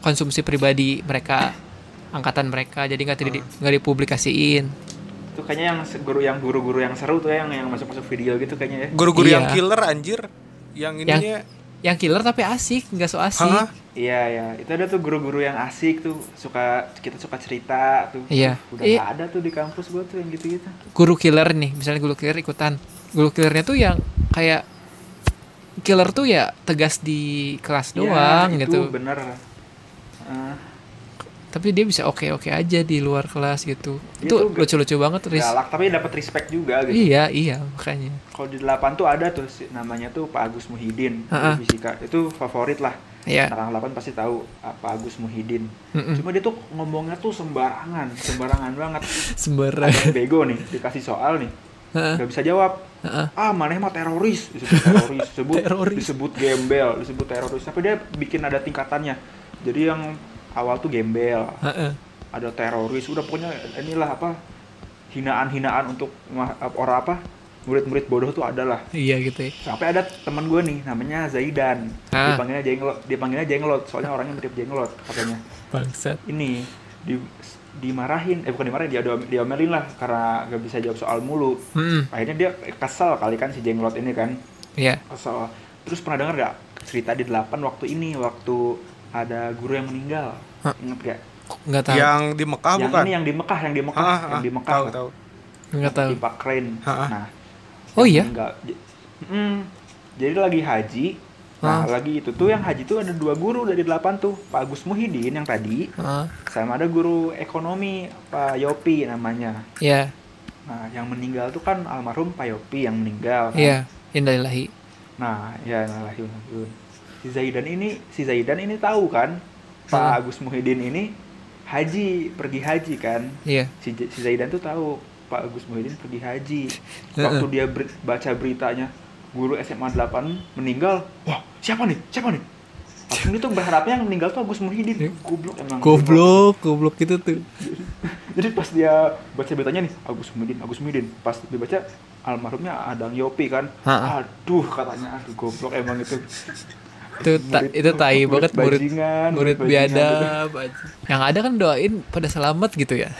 Speaker 2: konsumsi pribadi mereka angkatan mereka jadi nggak di- nggak dipublikasiin
Speaker 5: Itu kayaknya yang se- guru yang guru-guru yang seru tuh ya, yang yang masuk-masuk video gitu kayaknya ya.
Speaker 4: Guru-guru
Speaker 2: Iya.
Speaker 4: yang killer anjir. Yang ininya
Speaker 2: yang killer tapi asik nggak so asik
Speaker 4: Hah?
Speaker 5: Iya ya, itu ada tuh guru-guru yang asik tuh, suka kita suka cerita tuh.
Speaker 2: Iya.
Speaker 5: Udah
Speaker 2: Iya.
Speaker 5: nggak ada tuh di kampus gua tuh yang gitu-gitu.
Speaker 2: guru killer nih misalnya guru killer ikutan guru killernya tuh yang kayak killer tuh ya tegas di kelas doang
Speaker 5: Iya,
Speaker 2: gitu
Speaker 5: Itu bener. Eh,
Speaker 2: tapi dia bisa oke oke aja di luar kelas gitu
Speaker 5: Dia
Speaker 2: itu
Speaker 5: tuh ga-
Speaker 2: lucu lucu banget Riz
Speaker 5: galak tapi dapat respect juga gitu.
Speaker 2: iya iya makanya
Speaker 5: Kalau di delapan tuh ada tuh si- namanya tuh Pak Agus Muhyiddin,
Speaker 2: Ha-ha.
Speaker 5: Guru fisika. Itu favorit lah.
Speaker 2: ya
Speaker 5: Orang delapan pasti tahu ah, Pak Agus Muhyiddin.
Speaker 2: Mm-mm.
Speaker 5: Cuma dia tuh ngomongnya tuh sembarangan, sembarangan banget.
Speaker 2: sembarang
Speaker 5: Ada yang bego nih, dikasih soal nih,
Speaker 2: Ha-ha.
Speaker 5: nggak bisa jawab.
Speaker 2: Ha-ha.
Speaker 5: Ah, maneh mah teroris, disebut teroris, disebut,
Speaker 2: Teroris.
Speaker 5: disebut gembel, disebut teroris. Tapi dia bikin ada tingkatannya. Jadi yang awal tuh gembel,
Speaker 2: Heeh.
Speaker 5: ada teroris, udah pokoknya inilah apa hinaan-hinaan untuk ma- orang apa murid-murid bodoh tuh adalah
Speaker 2: iya gitu ya
Speaker 5: sampai ada teman gue nih namanya Zaidan
Speaker 2: Ah.
Speaker 5: dipanggilnya jenglot dipanggilnya jenglot soalnya orangnya mirip jenglot katanya
Speaker 2: bangsat
Speaker 5: ini di, dimarahin eh bukan dimarahin dia diomelin lah karena gak bisa jawab soal mulu
Speaker 2: Mm-mm.
Speaker 5: akhirnya dia kesel kali kan si jenglot ini kan
Speaker 2: Iya.
Speaker 5: kesel terus pernah dengar gak cerita di delapan waktu ini waktu ada guru yang meninggal
Speaker 2: Hah?
Speaker 5: inget gak
Speaker 2: nggak tahu
Speaker 4: yang di Mekah
Speaker 5: yang
Speaker 4: Ah, bukan?
Speaker 5: ini yang di Mekah yang di Mekah
Speaker 4: Ah,
Speaker 5: yang
Speaker 4: ah,
Speaker 5: di Mekah
Speaker 4: tahu tahu.
Speaker 2: nggak tahu
Speaker 5: di Bahrain.
Speaker 4: Ha, ha.
Speaker 5: Nah,
Speaker 2: Oh
Speaker 5: yang
Speaker 2: iya?
Speaker 5: meninggal. J- Mm, jadi lagi haji. Nah,
Speaker 2: Ah.
Speaker 5: lagi itu tuh yang haji tuh ada dua guru dari delapan tuh, Pak Agus Muhyiddin yang tadi,
Speaker 2: Heeh.
Speaker 5: sama ada guru ekonomi Pak Yopi namanya.
Speaker 2: Iya.
Speaker 5: Nah, yang meninggal tuh kan almarhum Pak Yopi yang meninggal. kan.
Speaker 2: Iya. Indalillahi.
Speaker 5: Nah, ya alhamdulillah. Si Zaidan ini, si Zaidan ini tahu kan,
Speaker 2: Ah.
Speaker 5: Pak Agus Muhyiddin ini haji, pergi haji kan
Speaker 2: Iya.
Speaker 5: si, J- si Zaidan tuh tahu Pak Agus Muhyiddin pergi haji. Waktu dia ber- baca beritanya guru SMA 8 meninggal. Wah, siapa nih? Siapa nih? Langsung itu berharapnya yang meninggal tuh Agus Muhyiddin. Goblok emang.
Speaker 2: Ya. Goblok, goblok gitu tuh.
Speaker 5: Jadi pas dia baca beritanya nih Agus Muhyiddin, Agus Muhyiddin. Pas dibaca almarhumnya Adang Yopi kan.
Speaker 2: Ha-ha.
Speaker 5: Aduh katanya aduh goblok emang itu.
Speaker 2: Itu ta-
Speaker 5: Murid-
Speaker 2: itu tai
Speaker 5: murid
Speaker 2: banget murid
Speaker 5: bajingan,
Speaker 2: murid
Speaker 5: murid bajingan gitu.
Speaker 2: biadab. aja. Yang ada kan doain pada selamat gitu ya.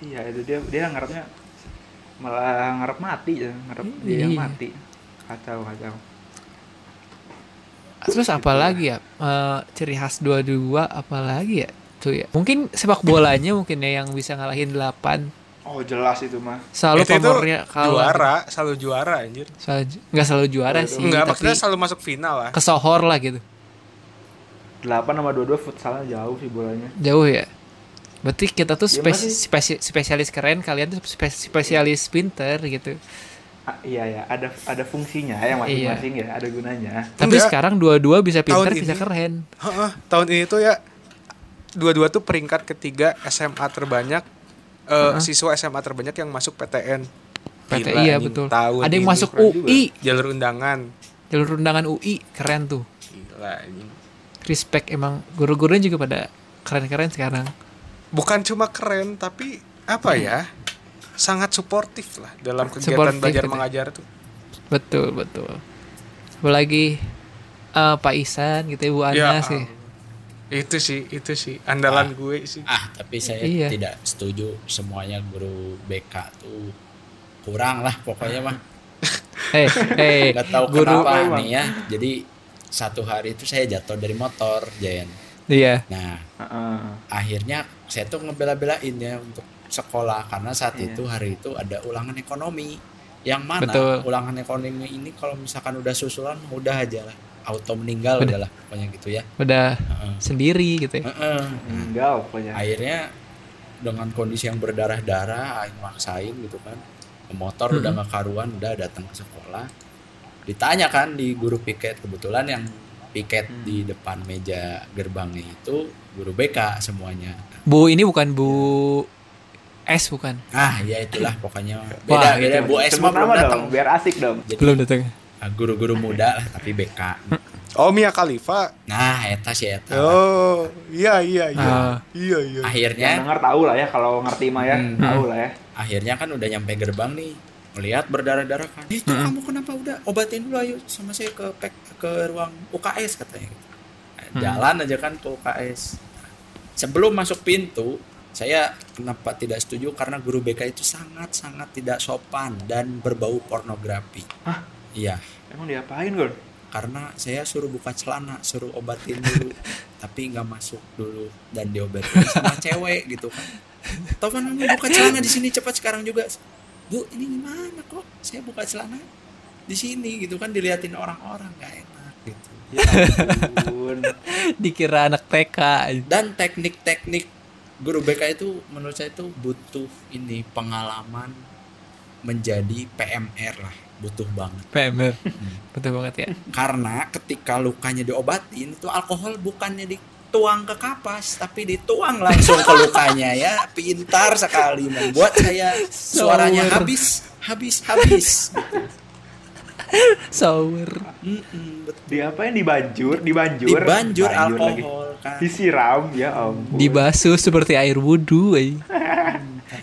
Speaker 5: Iya, itu dia dia ngarepnya malah ngarep mati ya, ngarep dia yang
Speaker 2: Iya.
Speaker 5: mati. Kacau, kacau.
Speaker 2: Terus apa lagi ya? Eh, ciri khas 22 apa lagi ya? Tuh ya. Mungkin sepak bolanya mungkin ya yang bisa ngalahin 8.
Speaker 5: Oh, jelas itu mah.
Speaker 2: Selalu
Speaker 4: Itu- itu
Speaker 2: pamornya kalah. gitu.
Speaker 4: juara, selalu juara anjir.
Speaker 2: Selalu ju- nggak selalu juara sih,
Speaker 4: Enggak,
Speaker 2: tapi
Speaker 4: maksudnya selalu masuk final ah. lah.
Speaker 2: kesohor lah gitu.
Speaker 5: 8 sama 22 futsalnya jauh sih bolanya.
Speaker 2: Jauh ya. Berarti kita tuh
Speaker 5: Iya,
Speaker 2: spes-
Speaker 5: masih-
Speaker 2: spesi- spesialis keren, kalian tuh spes- spesialis pinter gitu.
Speaker 5: Ah, iya ya, ada ada fungsinya
Speaker 3: Iya.
Speaker 5: ya masing-masing ya, ada gunanya.
Speaker 2: Tapi
Speaker 4: Enggak.
Speaker 2: sekarang dua-dua bisa
Speaker 4: Tahun
Speaker 2: pinter, bisa
Speaker 4: ini.
Speaker 2: keren.
Speaker 4: Heeh, tahun ini tuh ya dua-dua tuh peringkat ketiga SMA terbanyak eh, siswa SMA terbanyak yang masuk PTN.
Speaker 2: PT
Speaker 4: Gila,
Speaker 2: iya
Speaker 4: anjing,
Speaker 2: betul.
Speaker 4: tahun
Speaker 2: Ada yang
Speaker 4: ini.
Speaker 2: masuk
Speaker 5: keren
Speaker 2: UI,
Speaker 4: jalur undangan.
Speaker 2: jalur undangan UI, keren tuh.
Speaker 4: Gila anjing.
Speaker 2: Respect emang guru-gurunya juga pada keren-keren sekarang.
Speaker 4: Bukan cuma keren tapi apa ya? Sangat suportif lah dalam kegiatan
Speaker 2: Suportif
Speaker 4: belajar
Speaker 2: gitu.
Speaker 4: mengajar tuh.
Speaker 2: Betul, betul. Apalagi eh Pak Isan gitu Ibu Anas
Speaker 4: Ya,
Speaker 2: sih.
Speaker 4: eh, Itu sih, itu sih andalan gue sih.
Speaker 3: Ah, tapi saya
Speaker 2: Iya.
Speaker 3: tidak setuju semuanya guru BK tuh kurang lah pokoknya mah.
Speaker 2: Eh, eh,
Speaker 3: Nggak tahu
Speaker 2: guru
Speaker 3: kenapa
Speaker 5: Emang.
Speaker 3: nih ya. Jadi satu hari itu saya jatuh dari motor, Jen.
Speaker 2: iya.
Speaker 3: Nah,
Speaker 5: Heeh.
Speaker 3: akhirnya saya tuh ngebela-belain ya untuk sekolah karena saat
Speaker 5: Iya.
Speaker 3: itu hari itu ada ulangan ekonomi yang mana
Speaker 2: Betul.
Speaker 3: ulangan ekonomi ini kalau misalkan udah susulan udah aja lah auto meninggal
Speaker 2: Bener.
Speaker 3: udah lah pokoknya gitu ya
Speaker 2: Udah
Speaker 3: Heeh.
Speaker 2: sendiri gitu ya.
Speaker 3: Heeh.
Speaker 5: Ya. Meninggal pokoknya.
Speaker 3: akhirnya dengan kondisi yang berdarah-darah aing maksain gitu kan motor
Speaker 2: Mm-mm.
Speaker 3: udah nggak karuan udah datang ke sekolah ditanya kan di guru piket kebetulan yang piket
Speaker 5: Hmm.
Speaker 3: di depan meja gerbangnya itu guru BK semuanya
Speaker 2: Bu ini bukan Bu S bukan?
Speaker 3: ah ya itulah pokoknya
Speaker 2: Wah,
Speaker 3: beda beda bu Esma
Speaker 5: Sebut
Speaker 3: belum
Speaker 5: nama
Speaker 3: datang
Speaker 5: dong, biar asik dong.
Speaker 3: jadi
Speaker 2: Belum datang.
Speaker 3: ah, guru-guru muda lah tapi BK
Speaker 4: Oh Mia Khalifa.
Speaker 3: nah eta sih eta lah.
Speaker 4: Oh iya iya iya
Speaker 2: Ah.
Speaker 4: iya iya.
Speaker 5: Yang
Speaker 3: akhirnya
Speaker 5: denger tahu lah ya kalau ngerti mah ya,
Speaker 3: Hmm.
Speaker 5: tahu lah ya.
Speaker 3: akhirnya kan udah nyampe gerbang nih melihat berdarah-darah kan eh itu kamu kenapa udah obatin dulu ayo sama saya ke pek- ke ruang UKS katanya gitu. Nah, jalan aja kan ke UKS sebelum masuk pintu saya kenapa tidak setuju karena guru BK itu sangat-sangat tidak sopan dan berbau pornografi iya
Speaker 5: Emang diapain Gon?
Speaker 3: karena saya suruh buka celana suruh obatin dulu tapi nggak masuk dulu dan diobatin sama cewek gitu kan Taufan kamu buka celana di sini cepat sekarang juga bu ini gimana kok saya buka celana di sini gitu kan diliatin orang-orang nggak enak gitu
Speaker 5: Ya ampun.
Speaker 2: Dikira anak TK.
Speaker 3: dan teknik-teknik guru BK itu menurut saya itu butuh ini pengalaman menjadi PMR lah butuh banget
Speaker 2: PMR. Betul banget ya.
Speaker 3: karena ketika lukanya diobatin itu alkohol bukannya dituang ke kapas tapi dituang langsung ke lukanya ya pintar sekali membuat saya suaranya
Speaker 2: Sour.
Speaker 3: habis habis habis
Speaker 2: Sour.
Speaker 3: Mm-mm, betul.
Speaker 5: Diapain dibanjur, dibanjur.
Speaker 3: dibanjur
Speaker 5: Banjur lagi.
Speaker 3: alkohol kan
Speaker 5: Disiram ya ampun.
Speaker 2: Dibasuh seperti air wudhu. eh.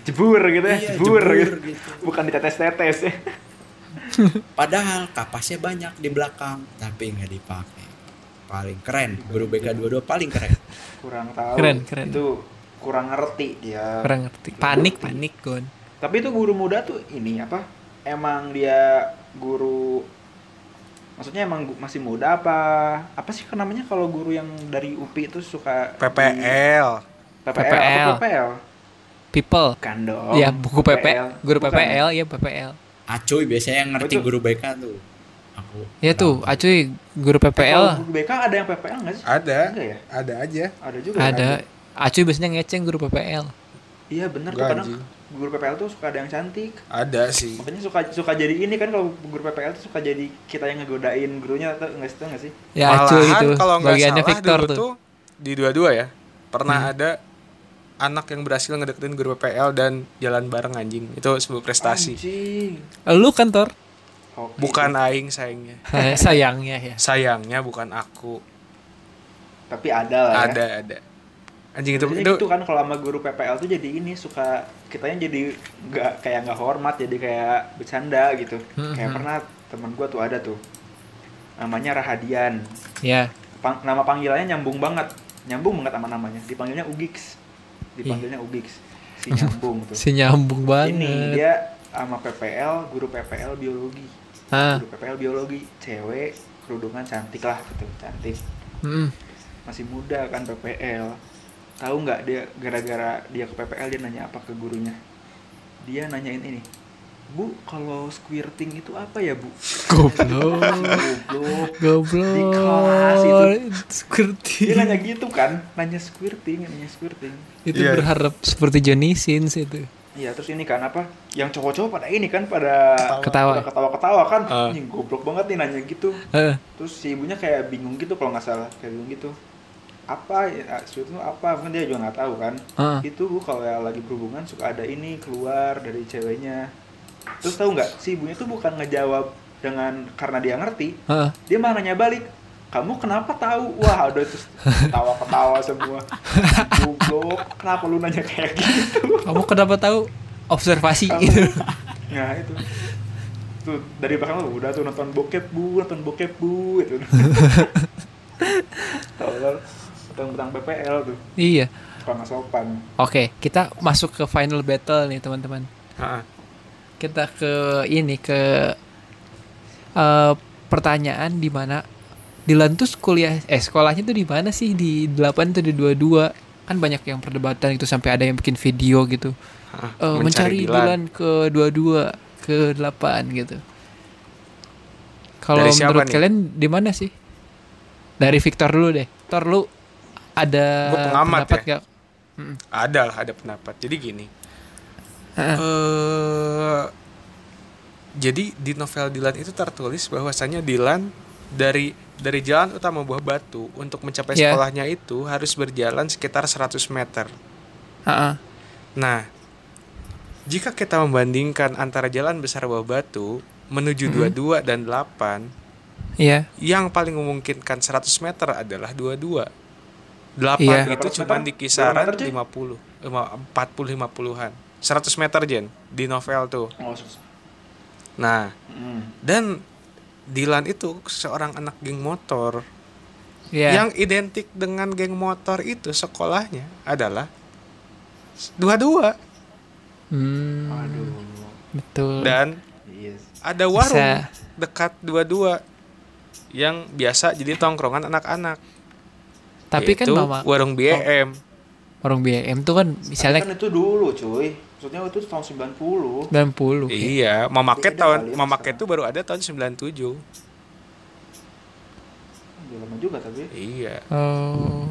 Speaker 5: jebur gitu ya,
Speaker 3: Iya,
Speaker 5: jebur,
Speaker 3: jebur
Speaker 5: gitu.
Speaker 3: gitu.
Speaker 5: Bukan ditetes-tetes ya.
Speaker 3: padahal kapasnya banyak di belakang tapi nggak dipakai paling keren guru BK 22 paling keren
Speaker 5: Kurang tahu.
Speaker 2: Keren, keren.
Speaker 5: Itu kurang ngerti dia.
Speaker 2: Kurang ngerti. Panik, panik Gon.
Speaker 5: Tapi itu guru muda tuh ini apa? Emang dia guru Maksudnya emang gu- masih muda apa? Apa sih namanya kalau guru yang dari UPI itu suka di-
Speaker 4: PPL.
Speaker 5: PPL.
Speaker 2: PPL.
Speaker 5: Apa PPL?
Speaker 2: People.
Speaker 5: Bukan Kan dong.
Speaker 4: Oh,
Speaker 2: ya buku PP, guru
Speaker 5: Bukan.
Speaker 2: PPL ya PPL.
Speaker 3: acuy biasanya yang ngerti
Speaker 5: Betul.
Speaker 3: guru BK tuh aku
Speaker 2: Ya tuh,
Speaker 3: Kenapa?
Speaker 2: acuy guru
Speaker 5: Kalau
Speaker 2: PPL
Speaker 5: guru BK ada yang PPL nggak sih?
Speaker 4: Ada
Speaker 5: Enggak ya?
Speaker 4: ada aja.
Speaker 5: Ada juga. ya?
Speaker 2: ada. Acuy biasanya ngeceng guru PPL.
Speaker 5: Iya bener tuh
Speaker 4: Enggak,
Speaker 5: kadang
Speaker 4: anjing.
Speaker 5: guru PPL tuh suka ada yang cantik.
Speaker 4: Ada sih.
Speaker 5: Makanya suka suka jadi ini kan kalau guru PPL tuh suka jadi kita yang ngegodain gurunya atau enggak sih enggak sih?
Speaker 2: Ya acuy
Speaker 4: Malahan
Speaker 2: itu.
Speaker 4: kalau nggak
Speaker 2: Bagiannya
Speaker 4: salah
Speaker 2: Victor
Speaker 4: dulu
Speaker 2: tuh. Hmm.
Speaker 4: tuh di dua-dua ya pernah ada anak yang berhasil ngedeketin guru PPL dan jalan bareng anjing itu sebuah prestasi
Speaker 5: Anjing.
Speaker 2: Eh, Lu kan, kantor?
Speaker 5: Hoki.
Speaker 4: bukan aing sayangnya
Speaker 2: Saya sayangnya ya.
Speaker 4: sayangnya bukan aku
Speaker 5: Tapi ada lah ya.
Speaker 4: ada ada anjing itu
Speaker 5: Biasanya
Speaker 4: itu
Speaker 5: gitu kan kalau sama guru PPL tuh jadi ini suka kitanya jadi nggak kayak nggak hormat jadi kayak bercanda gitu
Speaker 2: Hmm,
Speaker 5: kayak pernah temen gua tuh ada tuh namanya Rahadian
Speaker 2: Ya.
Speaker 5: Pang- nama panggilannya nyambung banget nyambung banget sama namanya dipanggilnya Ugix dipanggilnya Ugix si nyambung tuh
Speaker 2: Si nyambung banget.
Speaker 5: ini dia sama PPL guru PPL biologi
Speaker 2: Ah,
Speaker 5: guru PPL biologi cewek kerudungan cantik lah gitu cantik
Speaker 2: mm,
Speaker 5: masih muda kan PPL tahu nggak dia gara-gara dia ke PPL dia nanya apa ke gurunya dia nanyain ini bu kalau squirting itu apa ya bu
Speaker 2: goblok.
Speaker 5: goblok
Speaker 2: Goblok.
Speaker 5: Di kelas itu.
Speaker 2: Seperti
Speaker 5: dia nanya gitu kan nanya squirting nanya squirting
Speaker 2: itu
Speaker 4: Iya.
Speaker 2: berharap seperti Johnny Sins itu.
Speaker 5: iya terus ini kan apa yang cowok-cowok pada ini kan pada
Speaker 2: Ketawa.
Speaker 5: pada ketawa-ketawa kan
Speaker 4: Ah.
Speaker 5: Anjing, goblok banget nih nanya gitu
Speaker 2: Heeh.
Speaker 5: terus si ibunya kayak bingung gitu kalau nggak salah kayak bingung gitu apa ya, squirting itu apa kan dia juga nggak tahu kan
Speaker 2: Heeh.
Speaker 5: itu bu kalau yang lagi berhubungan suka ada ini keluar dari ceweknya terus tahu nggak si ibunya tuh bukan ngejawab dengan karena dia ngerti
Speaker 2: Heeh.
Speaker 5: dia malah nanya balik kamu kenapa tahu wah udah terus ketawa ketawa semua goblok kenapa lu nanya kayak gitu
Speaker 2: Kamu kenapa tahu observasi
Speaker 5: Kamu-
Speaker 2: gitu.
Speaker 5: nah itu tuh dari belakang lu udah tuh nonton bokep bu nonton bokep bu itu tahu kan tentang PPL tuh
Speaker 2: iya.
Speaker 5: suka nggak sopan
Speaker 2: Oke, kita masuk ke final battle nih, teman-teman.
Speaker 4: Ha-ha.
Speaker 2: kita ke ini ke eh, pertanyaan di mana Dilan tuh kuliah eh sekolahnya tuh di mana sih di 8 atau di 22 kan banyak yang perdebatan itu sampai ada yang bikin video gitu Eh,
Speaker 4: Ha-ha.
Speaker 2: mencari, Dilan ke 22 ke 8 gitu kalau
Speaker 4: Dari siapa
Speaker 2: menurut
Speaker 4: nih?
Speaker 2: kalian di mana sih dari Victor dulu deh Victor lu ada
Speaker 4: Gua pengamat
Speaker 2: pendapat
Speaker 4: ya?
Speaker 2: nggak? Mm-mm.
Speaker 4: Ada lah, ada pendapat. Jadi gini.
Speaker 2: Heeh.
Speaker 4: eh jadi di novel Dylan itu tertulis bahwasannya Dylan dari dari jalan utama Buah Batu untuk mencapai
Speaker 2: Iya.
Speaker 4: sekolahnya itu harus berjalan sekitar 100 meter.
Speaker 2: Heeh.
Speaker 4: Nah, jika kita membandingkan antara jalan besar Buah Batu menuju 22 dan 8,
Speaker 2: Iya.
Speaker 4: yang paling memungkinkan 100 meter adalah 22. 8
Speaker 2: Iya.
Speaker 4: itu
Speaker 5: 100
Speaker 4: cuma
Speaker 5: meter?
Speaker 4: di kisaran
Speaker 5: Berapa meter, Jin?
Speaker 4: 50, eh, ma- 40 50-an. 100 meter Jen di novel tuh.
Speaker 5: Oh, sus-
Speaker 4: Nah,
Speaker 5: hmm.
Speaker 4: dan Dylan itu seorang anak geng motor
Speaker 2: Iya.
Speaker 4: yang identik dengan geng motor itu sekolahnya adalah 22
Speaker 2: Hmm,
Speaker 5: Aduh.
Speaker 2: betul.
Speaker 4: dan
Speaker 5: Yes.
Speaker 4: ada warung
Speaker 2: Hmm. Bisa.
Speaker 4: dekat 22 yang biasa jadi tongkrongan anak-anak.
Speaker 2: Tapi kan
Speaker 4: Yaitu
Speaker 2: mama
Speaker 4: warung BM.
Speaker 2: orang BM tuh kan misalnya
Speaker 5: Tapi kan itu dulu, cuy. Maksudnya itu tahun 90.
Speaker 2: 90.
Speaker 4: Iya, memakai
Speaker 5: Beda kali
Speaker 4: tahun
Speaker 5: ya
Speaker 4: memakai
Speaker 5: sekarang.
Speaker 4: itu baru ada tahun 97.
Speaker 5: Udah lama juga tapi.
Speaker 4: Iya.
Speaker 2: Oh,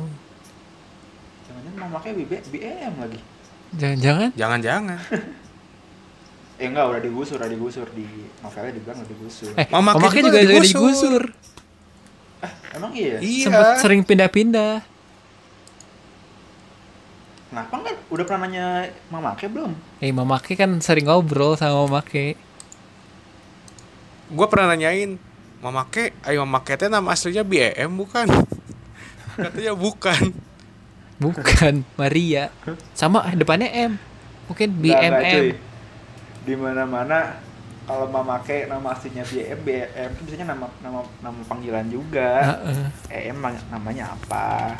Speaker 5: Jangan-jangan mau pakai BB BM lagi.
Speaker 2: jangan-jangan
Speaker 4: Jangan-jangan.
Speaker 5: Eh enggak, udah digusur, udah digusur di novelnya dibilang udah digusur.
Speaker 2: eh
Speaker 4: Mama
Speaker 2: mama Kay
Speaker 4: Kay juga
Speaker 2: juga,
Speaker 4: digusur.
Speaker 2: dari digusur.
Speaker 5: Emang iya?
Speaker 4: iya.
Speaker 2: Sempet sering pindah-pindah.
Speaker 5: Kenapa enggak? Udah pernah nanya Mama Ke belum?
Speaker 2: Eh mama Kay kan sering ngobrol sama mama Kay.
Speaker 4: Gua pernah nanyain, "Mamake, ayo mamake teh nama aslinya BM bukan?" Katanya bukan.
Speaker 2: Bukan Maria. Sama ah, depannya M. Mungkin
Speaker 5: Enggak, enggak, cuy.
Speaker 2: BMM.
Speaker 5: Di mana-mana kalau Mama Ke nama aslinya BM, BM itu biasanya nama nama nama panggilan juga.
Speaker 2: Heeh.
Speaker 5: EM mang- namanya apa?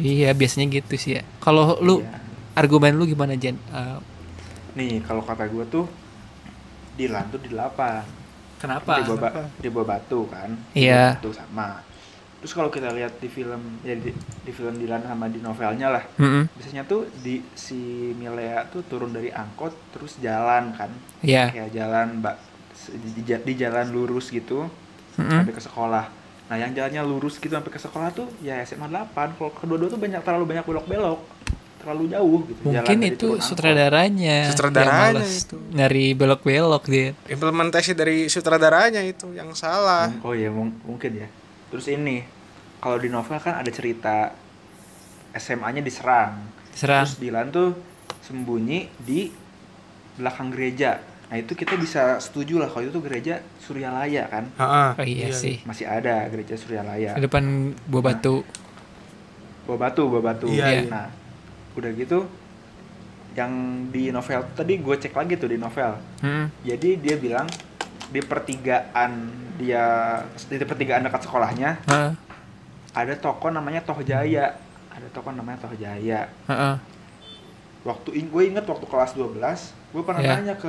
Speaker 2: Iya, biasanya gitu sih ya. Kalau lu
Speaker 5: Iya.
Speaker 2: argumen lu gimana Jen? Eh,
Speaker 5: Nih, kalau kata gua tuh Dilan tuh di 8. Di
Speaker 2: kenapa?
Speaker 5: bawah, ba- di bawah batu kan. Di
Speaker 2: Iya.
Speaker 5: bawah Batu sama. Terus kalau kita lihat di film ya di, di film Dilan sama di novelnya lah
Speaker 2: Mm-mm.
Speaker 5: biasanya tuh di si Milea tuh turun dari angkot terus jalan kan
Speaker 2: Iya.
Speaker 5: kayak jalan mbak se- di, di- di jalan lurus gitu
Speaker 2: Mm-mm.
Speaker 5: sampai ke sekolah nah yang jalannya lurus gitu sampai ke sekolah tuh ya SMA 8 kalau kedua-dua tuh banyak terlalu banyak belok-belok terlalu jauh gitu
Speaker 2: Mungkin
Speaker 5: dari
Speaker 2: itu
Speaker 5: turun angkot.
Speaker 2: sutradaranya.
Speaker 4: Sutradaranya
Speaker 2: yang males
Speaker 4: itu.
Speaker 2: Nyari belok-belok dia.
Speaker 4: Implementasi dari sutradaranya itu yang salah.
Speaker 5: oh iya mung- mungkin ya terus ini kalau di novel kan ada cerita SMA-nya diserang
Speaker 2: Serang.
Speaker 5: Terus Dilan tuh sembunyi di belakang gereja. Nah itu kita bisa setuju lah kalau itu tuh gereja Suryalaya kan.
Speaker 4: Heeh.
Speaker 2: Oh iya, sih.
Speaker 5: Masih ada gereja Suryalaya.
Speaker 2: Di depan buah batu.
Speaker 5: Bawa batu, bawa batu.
Speaker 4: Iya,
Speaker 2: iya.
Speaker 5: Nah udah gitu yang di novel tadi gue cek lagi tuh di novel.
Speaker 2: Mm-mm.
Speaker 5: Jadi dia bilang di pertigaan dia di pertigaan dekat sekolahnya
Speaker 2: Heeh.
Speaker 5: ada toko namanya Tohjaya. Ada toko namanya Tohjaya.
Speaker 2: Heeh.
Speaker 5: waktu in, gue inget waktu kelas 12 gue pernah
Speaker 2: Iya.
Speaker 5: nanya ke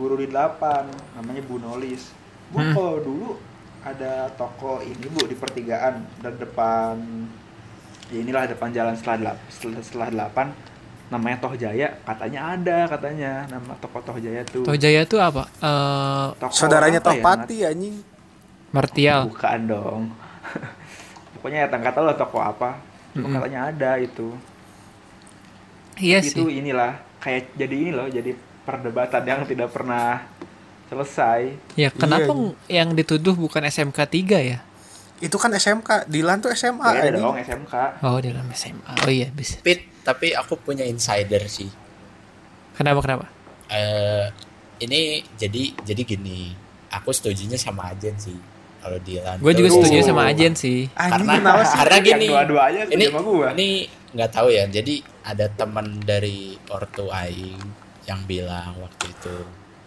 Speaker 5: guru di 8 namanya Bu Nolis Bu
Speaker 2: Hmm.
Speaker 5: kalau dulu ada toko ini Bu di pertigaan dan depan ya inilah depan jalan setelah delap- setelah, setelah 8 namanya Toh Jaya katanya ada katanya nama toko Toh Jaya tuh
Speaker 2: Tohjaya tuh apa? Eh,
Speaker 5: Toko
Speaker 4: Saudaranya
Speaker 5: apa ya,
Speaker 4: Topati anjing.
Speaker 5: Nat?
Speaker 2: Martial.
Speaker 5: bukan dong pokoknya ya nggak tahu lah toko apa Cuma
Speaker 2: Mm-mm.
Speaker 5: katanya ada itu
Speaker 2: Iya
Speaker 5: itu
Speaker 2: sih.
Speaker 5: inilah kayak jadi ini loh jadi perdebatan yang tidak pernah selesai
Speaker 2: Ya kenapa
Speaker 4: Iya,
Speaker 2: yang dituduh bukan SMK 3 ya?
Speaker 4: Itu kan SMK, Dilan tuh SMA
Speaker 5: beda
Speaker 4: anjing.
Speaker 5: dong SMK
Speaker 2: Oh dalam SMA. Oh iya bisa.
Speaker 3: Pit, tapi aku punya insider sih.
Speaker 2: Kenapa kenapa?
Speaker 3: Eh ini jadi jadi gini, aku setujunya sama Ajen sih. Kalau Dilan.
Speaker 2: Gue juga
Speaker 3: tuh-
Speaker 2: setuju sama Ajen sih.
Speaker 4: Anjing
Speaker 3: Karena-
Speaker 4: kenapa sih?
Speaker 3: Karena
Speaker 5: yang
Speaker 3: gini,
Speaker 5: dua-duanya
Speaker 3: ini-
Speaker 5: ini sama gua
Speaker 3: Ini nggak tahu ya. Jadi ada teman dari ortu Aing yang bilang waktu itu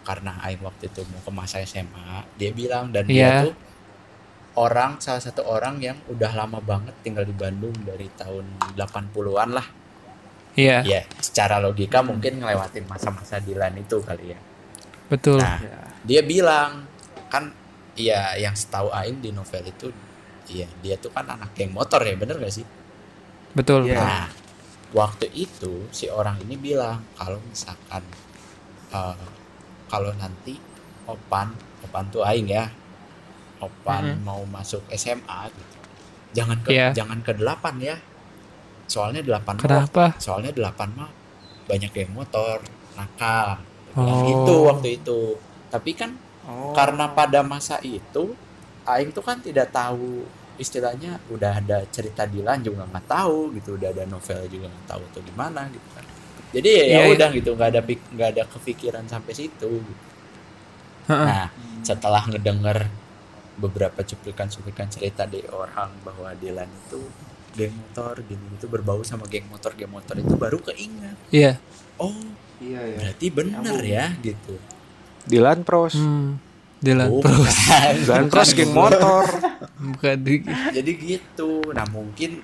Speaker 3: karena Aing waktu itu mau ke masa SMA, dia bilang dan
Speaker 2: Iya.
Speaker 3: dia tuh orang salah satu orang yang udah lama banget tinggal di Bandung dari tahun 80-an lah.
Speaker 2: Iya
Speaker 3: Ya, secara logika mungkin ngelewatin masa-masa Dilan itu kali ya.
Speaker 2: betul.
Speaker 3: Nah,
Speaker 5: ya.
Speaker 3: dia bilang kan iya yang setahu Aing di novel itu iya dia tuh kan anak geng motor ya bener gak sih
Speaker 2: Betul.
Speaker 5: Iya.
Speaker 3: nah waktu itu si orang ini bilang kalau misalkan eh, kalau nanti opan opan tuh Aing ya opan mau masuk SMA gitu jangan ke
Speaker 2: Mm-hmm. Iya.
Speaker 3: jangan ke delapan ya soalnya delapan mah
Speaker 2: Kenapa?
Speaker 3: soalnya delapan mah banyak yang motor nakal
Speaker 2: Oh.
Speaker 3: itu gitu waktu itu tapi kan
Speaker 5: Oh,
Speaker 3: karena pada masa itu Aing tuh kan tidak tahu istilahnya udah ada cerita Dilan juga nggak tahu gitu udah ada novel juga nggak tahu atau gimana gitu kan jadi ya, ya
Speaker 2: Iya, iya.
Speaker 3: udah gitu nggak ada pik- nggak ada kepikiran sampai situ gitu.
Speaker 2: Heeh.
Speaker 3: nah setelah ngedenger beberapa cuplikan-cuplikan cerita dari orang bahwa Dilan itu geng motor gini itu berbau sama geng motor geng motor itu baru keinget
Speaker 2: Iya.
Speaker 3: oh
Speaker 5: Iya ya.
Speaker 3: berarti bener
Speaker 5: Nyambung.
Speaker 3: ya gitu
Speaker 4: Dilan Pros.
Speaker 2: Hmm. Jalan
Speaker 3: Oh,
Speaker 2: terus.
Speaker 4: Dilan Pros
Speaker 3: Bukan.
Speaker 4: geng motor.
Speaker 2: Bukan di-
Speaker 3: jadi gitu nah mungkin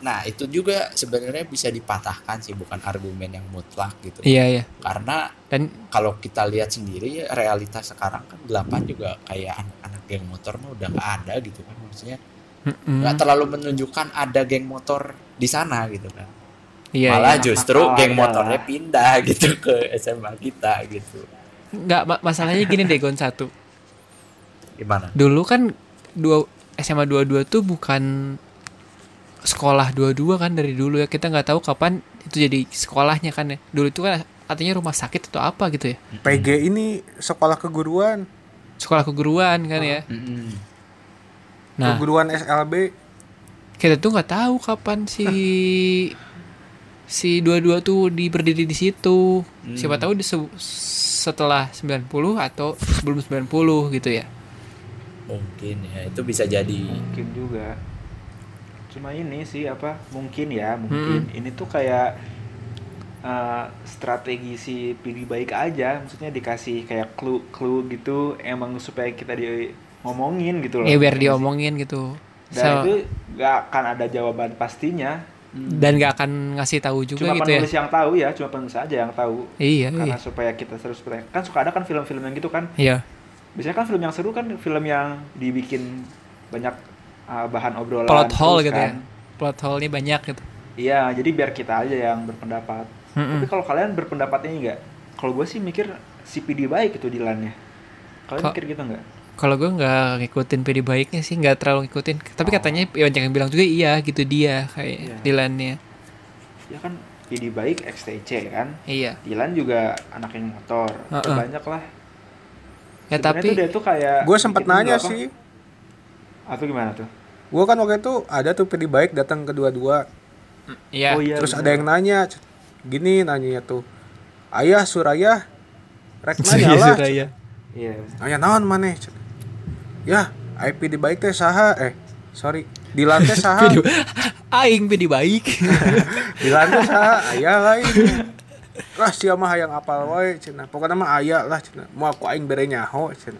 Speaker 3: nah itu juga sebenarnya bisa dipatahkan sih bukan argumen yang mutlak gitu
Speaker 2: Iya, iya.
Speaker 3: karena
Speaker 2: Dan
Speaker 3: kalau kita lihat sendiri ya, realitas sekarang kan delapan juga kayak anak-anak geng motor mah udah nggak ada gitu kan maksudnya
Speaker 2: Mm-mm.
Speaker 3: nggak terlalu menunjukkan ada geng motor di sana gitu kan
Speaker 2: Iya,
Speaker 3: malah
Speaker 2: iya.
Speaker 3: justru
Speaker 5: Malah
Speaker 3: geng
Speaker 5: ada
Speaker 3: motornya
Speaker 5: lah.
Speaker 3: pindah gitu ke SMA kita gitu
Speaker 2: Nggak, ma- masalahnya gini deh Gon satu.
Speaker 3: gimana
Speaker 2: Dulu kan dua SMA 22 tuh bukan sekolah 22 kan dari dulu ya. Kita nggak tahu kapan itu jadi sekolahnya kan ya. Dulu itu kan artinya rumah sakit atau apa gitu ya.
Speaker 4: PG ini sekolah keguruan,
Speaker 2: Sekolah keguruan kan ya.
Speaker 3: Mm-mm.
Speaker 2: Nah,
Speaker 4: keguruan SLB.
Speaker 2: kita tuh nggak tahu kapan si si dua-dua tuh diberdiri di situ.
Speaker 5: Hmm.
Speaker 2: Siapa tahu di se- setelah 90 atau sebelum 90 gitu ya.
Speaker 3: mungkin ya itu bisa jadi
Speaker 5: Mungkin juga. Cuma ini sih apa? Mungkin ya, mungkin. Ini tuh kayak eh, strategi si pilih baik aja. Maksudnya dikasih kayak clue-clue gitu emang supaya kita di ngomongin gitu loh.
Speaker 2: Ya biar diomongin gitu.
Speaker 5: Dan
Speaker 2: So-
Speaker 5: itu gak akan ada jawaban pastinya.
Speaker 2: dan nggak akan ngasih tahu juga
Speaker 5: Cuma
Speaker 2: gitu ya.
Speaker 5: penulis yang tahu ya, cuma penulis aja yang tahu.
Speaker 2: Iya, iya.
Speaker 5: Karena supaya kita terus bertanya. Kan suka ada kan film-film yang gitu kan.
Speaker 2: Iya.
Speaker 5: biasanya kan film yang seru kan film yang dibikin banyak uh, bahan obrolan
Speaker 2: Plot hole
Speaker 5: terus
Speaker 2: gitu ya.
Speaker 5: kan.
Speaker 2: Plot hole-nya banyak gitu.
Speaker 5: iya jadi biar kita aja yang berpendapat tapi kalau kalian berpendapatnya enggak kalau gue sih mikir CPD baik itu dilannya kalian
Speaker 2: Kok-
Speaker 5: mikir gitu enggak
Speaker 2: Kalau gue nggak ngikutin PD baiknya sih nggak terlalu ngikutin. Tapi katanya ya banyak yang bilang juga iya gitu dia
Speaker 5: Oh. Iya.
Speaker 2: kayak Dilannya.
Speaker 5: ya kan PD baik XTC kan
Speaker 2: Iya.
Speaker 5: Dilan juga anak yang motor
Speaker 2: Heeh.
Speaker 5: Itu banyak lah
Speaker 2: Ya
Speaker 5: Sebenarnya
Speaker 2: tapi
Speaker 5: tuh dia tuh kayak
Speaker 4: Gue sempet
Speaker 5: bikin
Speaker 4: nanya
Speaker 5: berapa-
Speaker 4: sih.
Speaker 5: atau gimana tuh
Speaker 4: Gue kan waktu itu ada tuh PD baik datang kedua-dua.
Speaker 2: iya.
Speaker 5: oh iya
Speaker 4: Terus
Speaker 5: bener.
Speaker 4: ada yang nanya, gini nanya tuh, ayah Suraya, rek nanya lah.
Speaker 2: Suraya.
Speaker 5: iya
Speaker 4: Nanya naon maneh? Ya, IP di baik teh saha eh sorry di lantai saha
Speaker 2: Aing PD baik.
Speaker 4: di lantai saha ayah lain lah sia mah hayang apal wae cenah pokoknya mah aya lah cenah mau aku aing bere nyaho cenah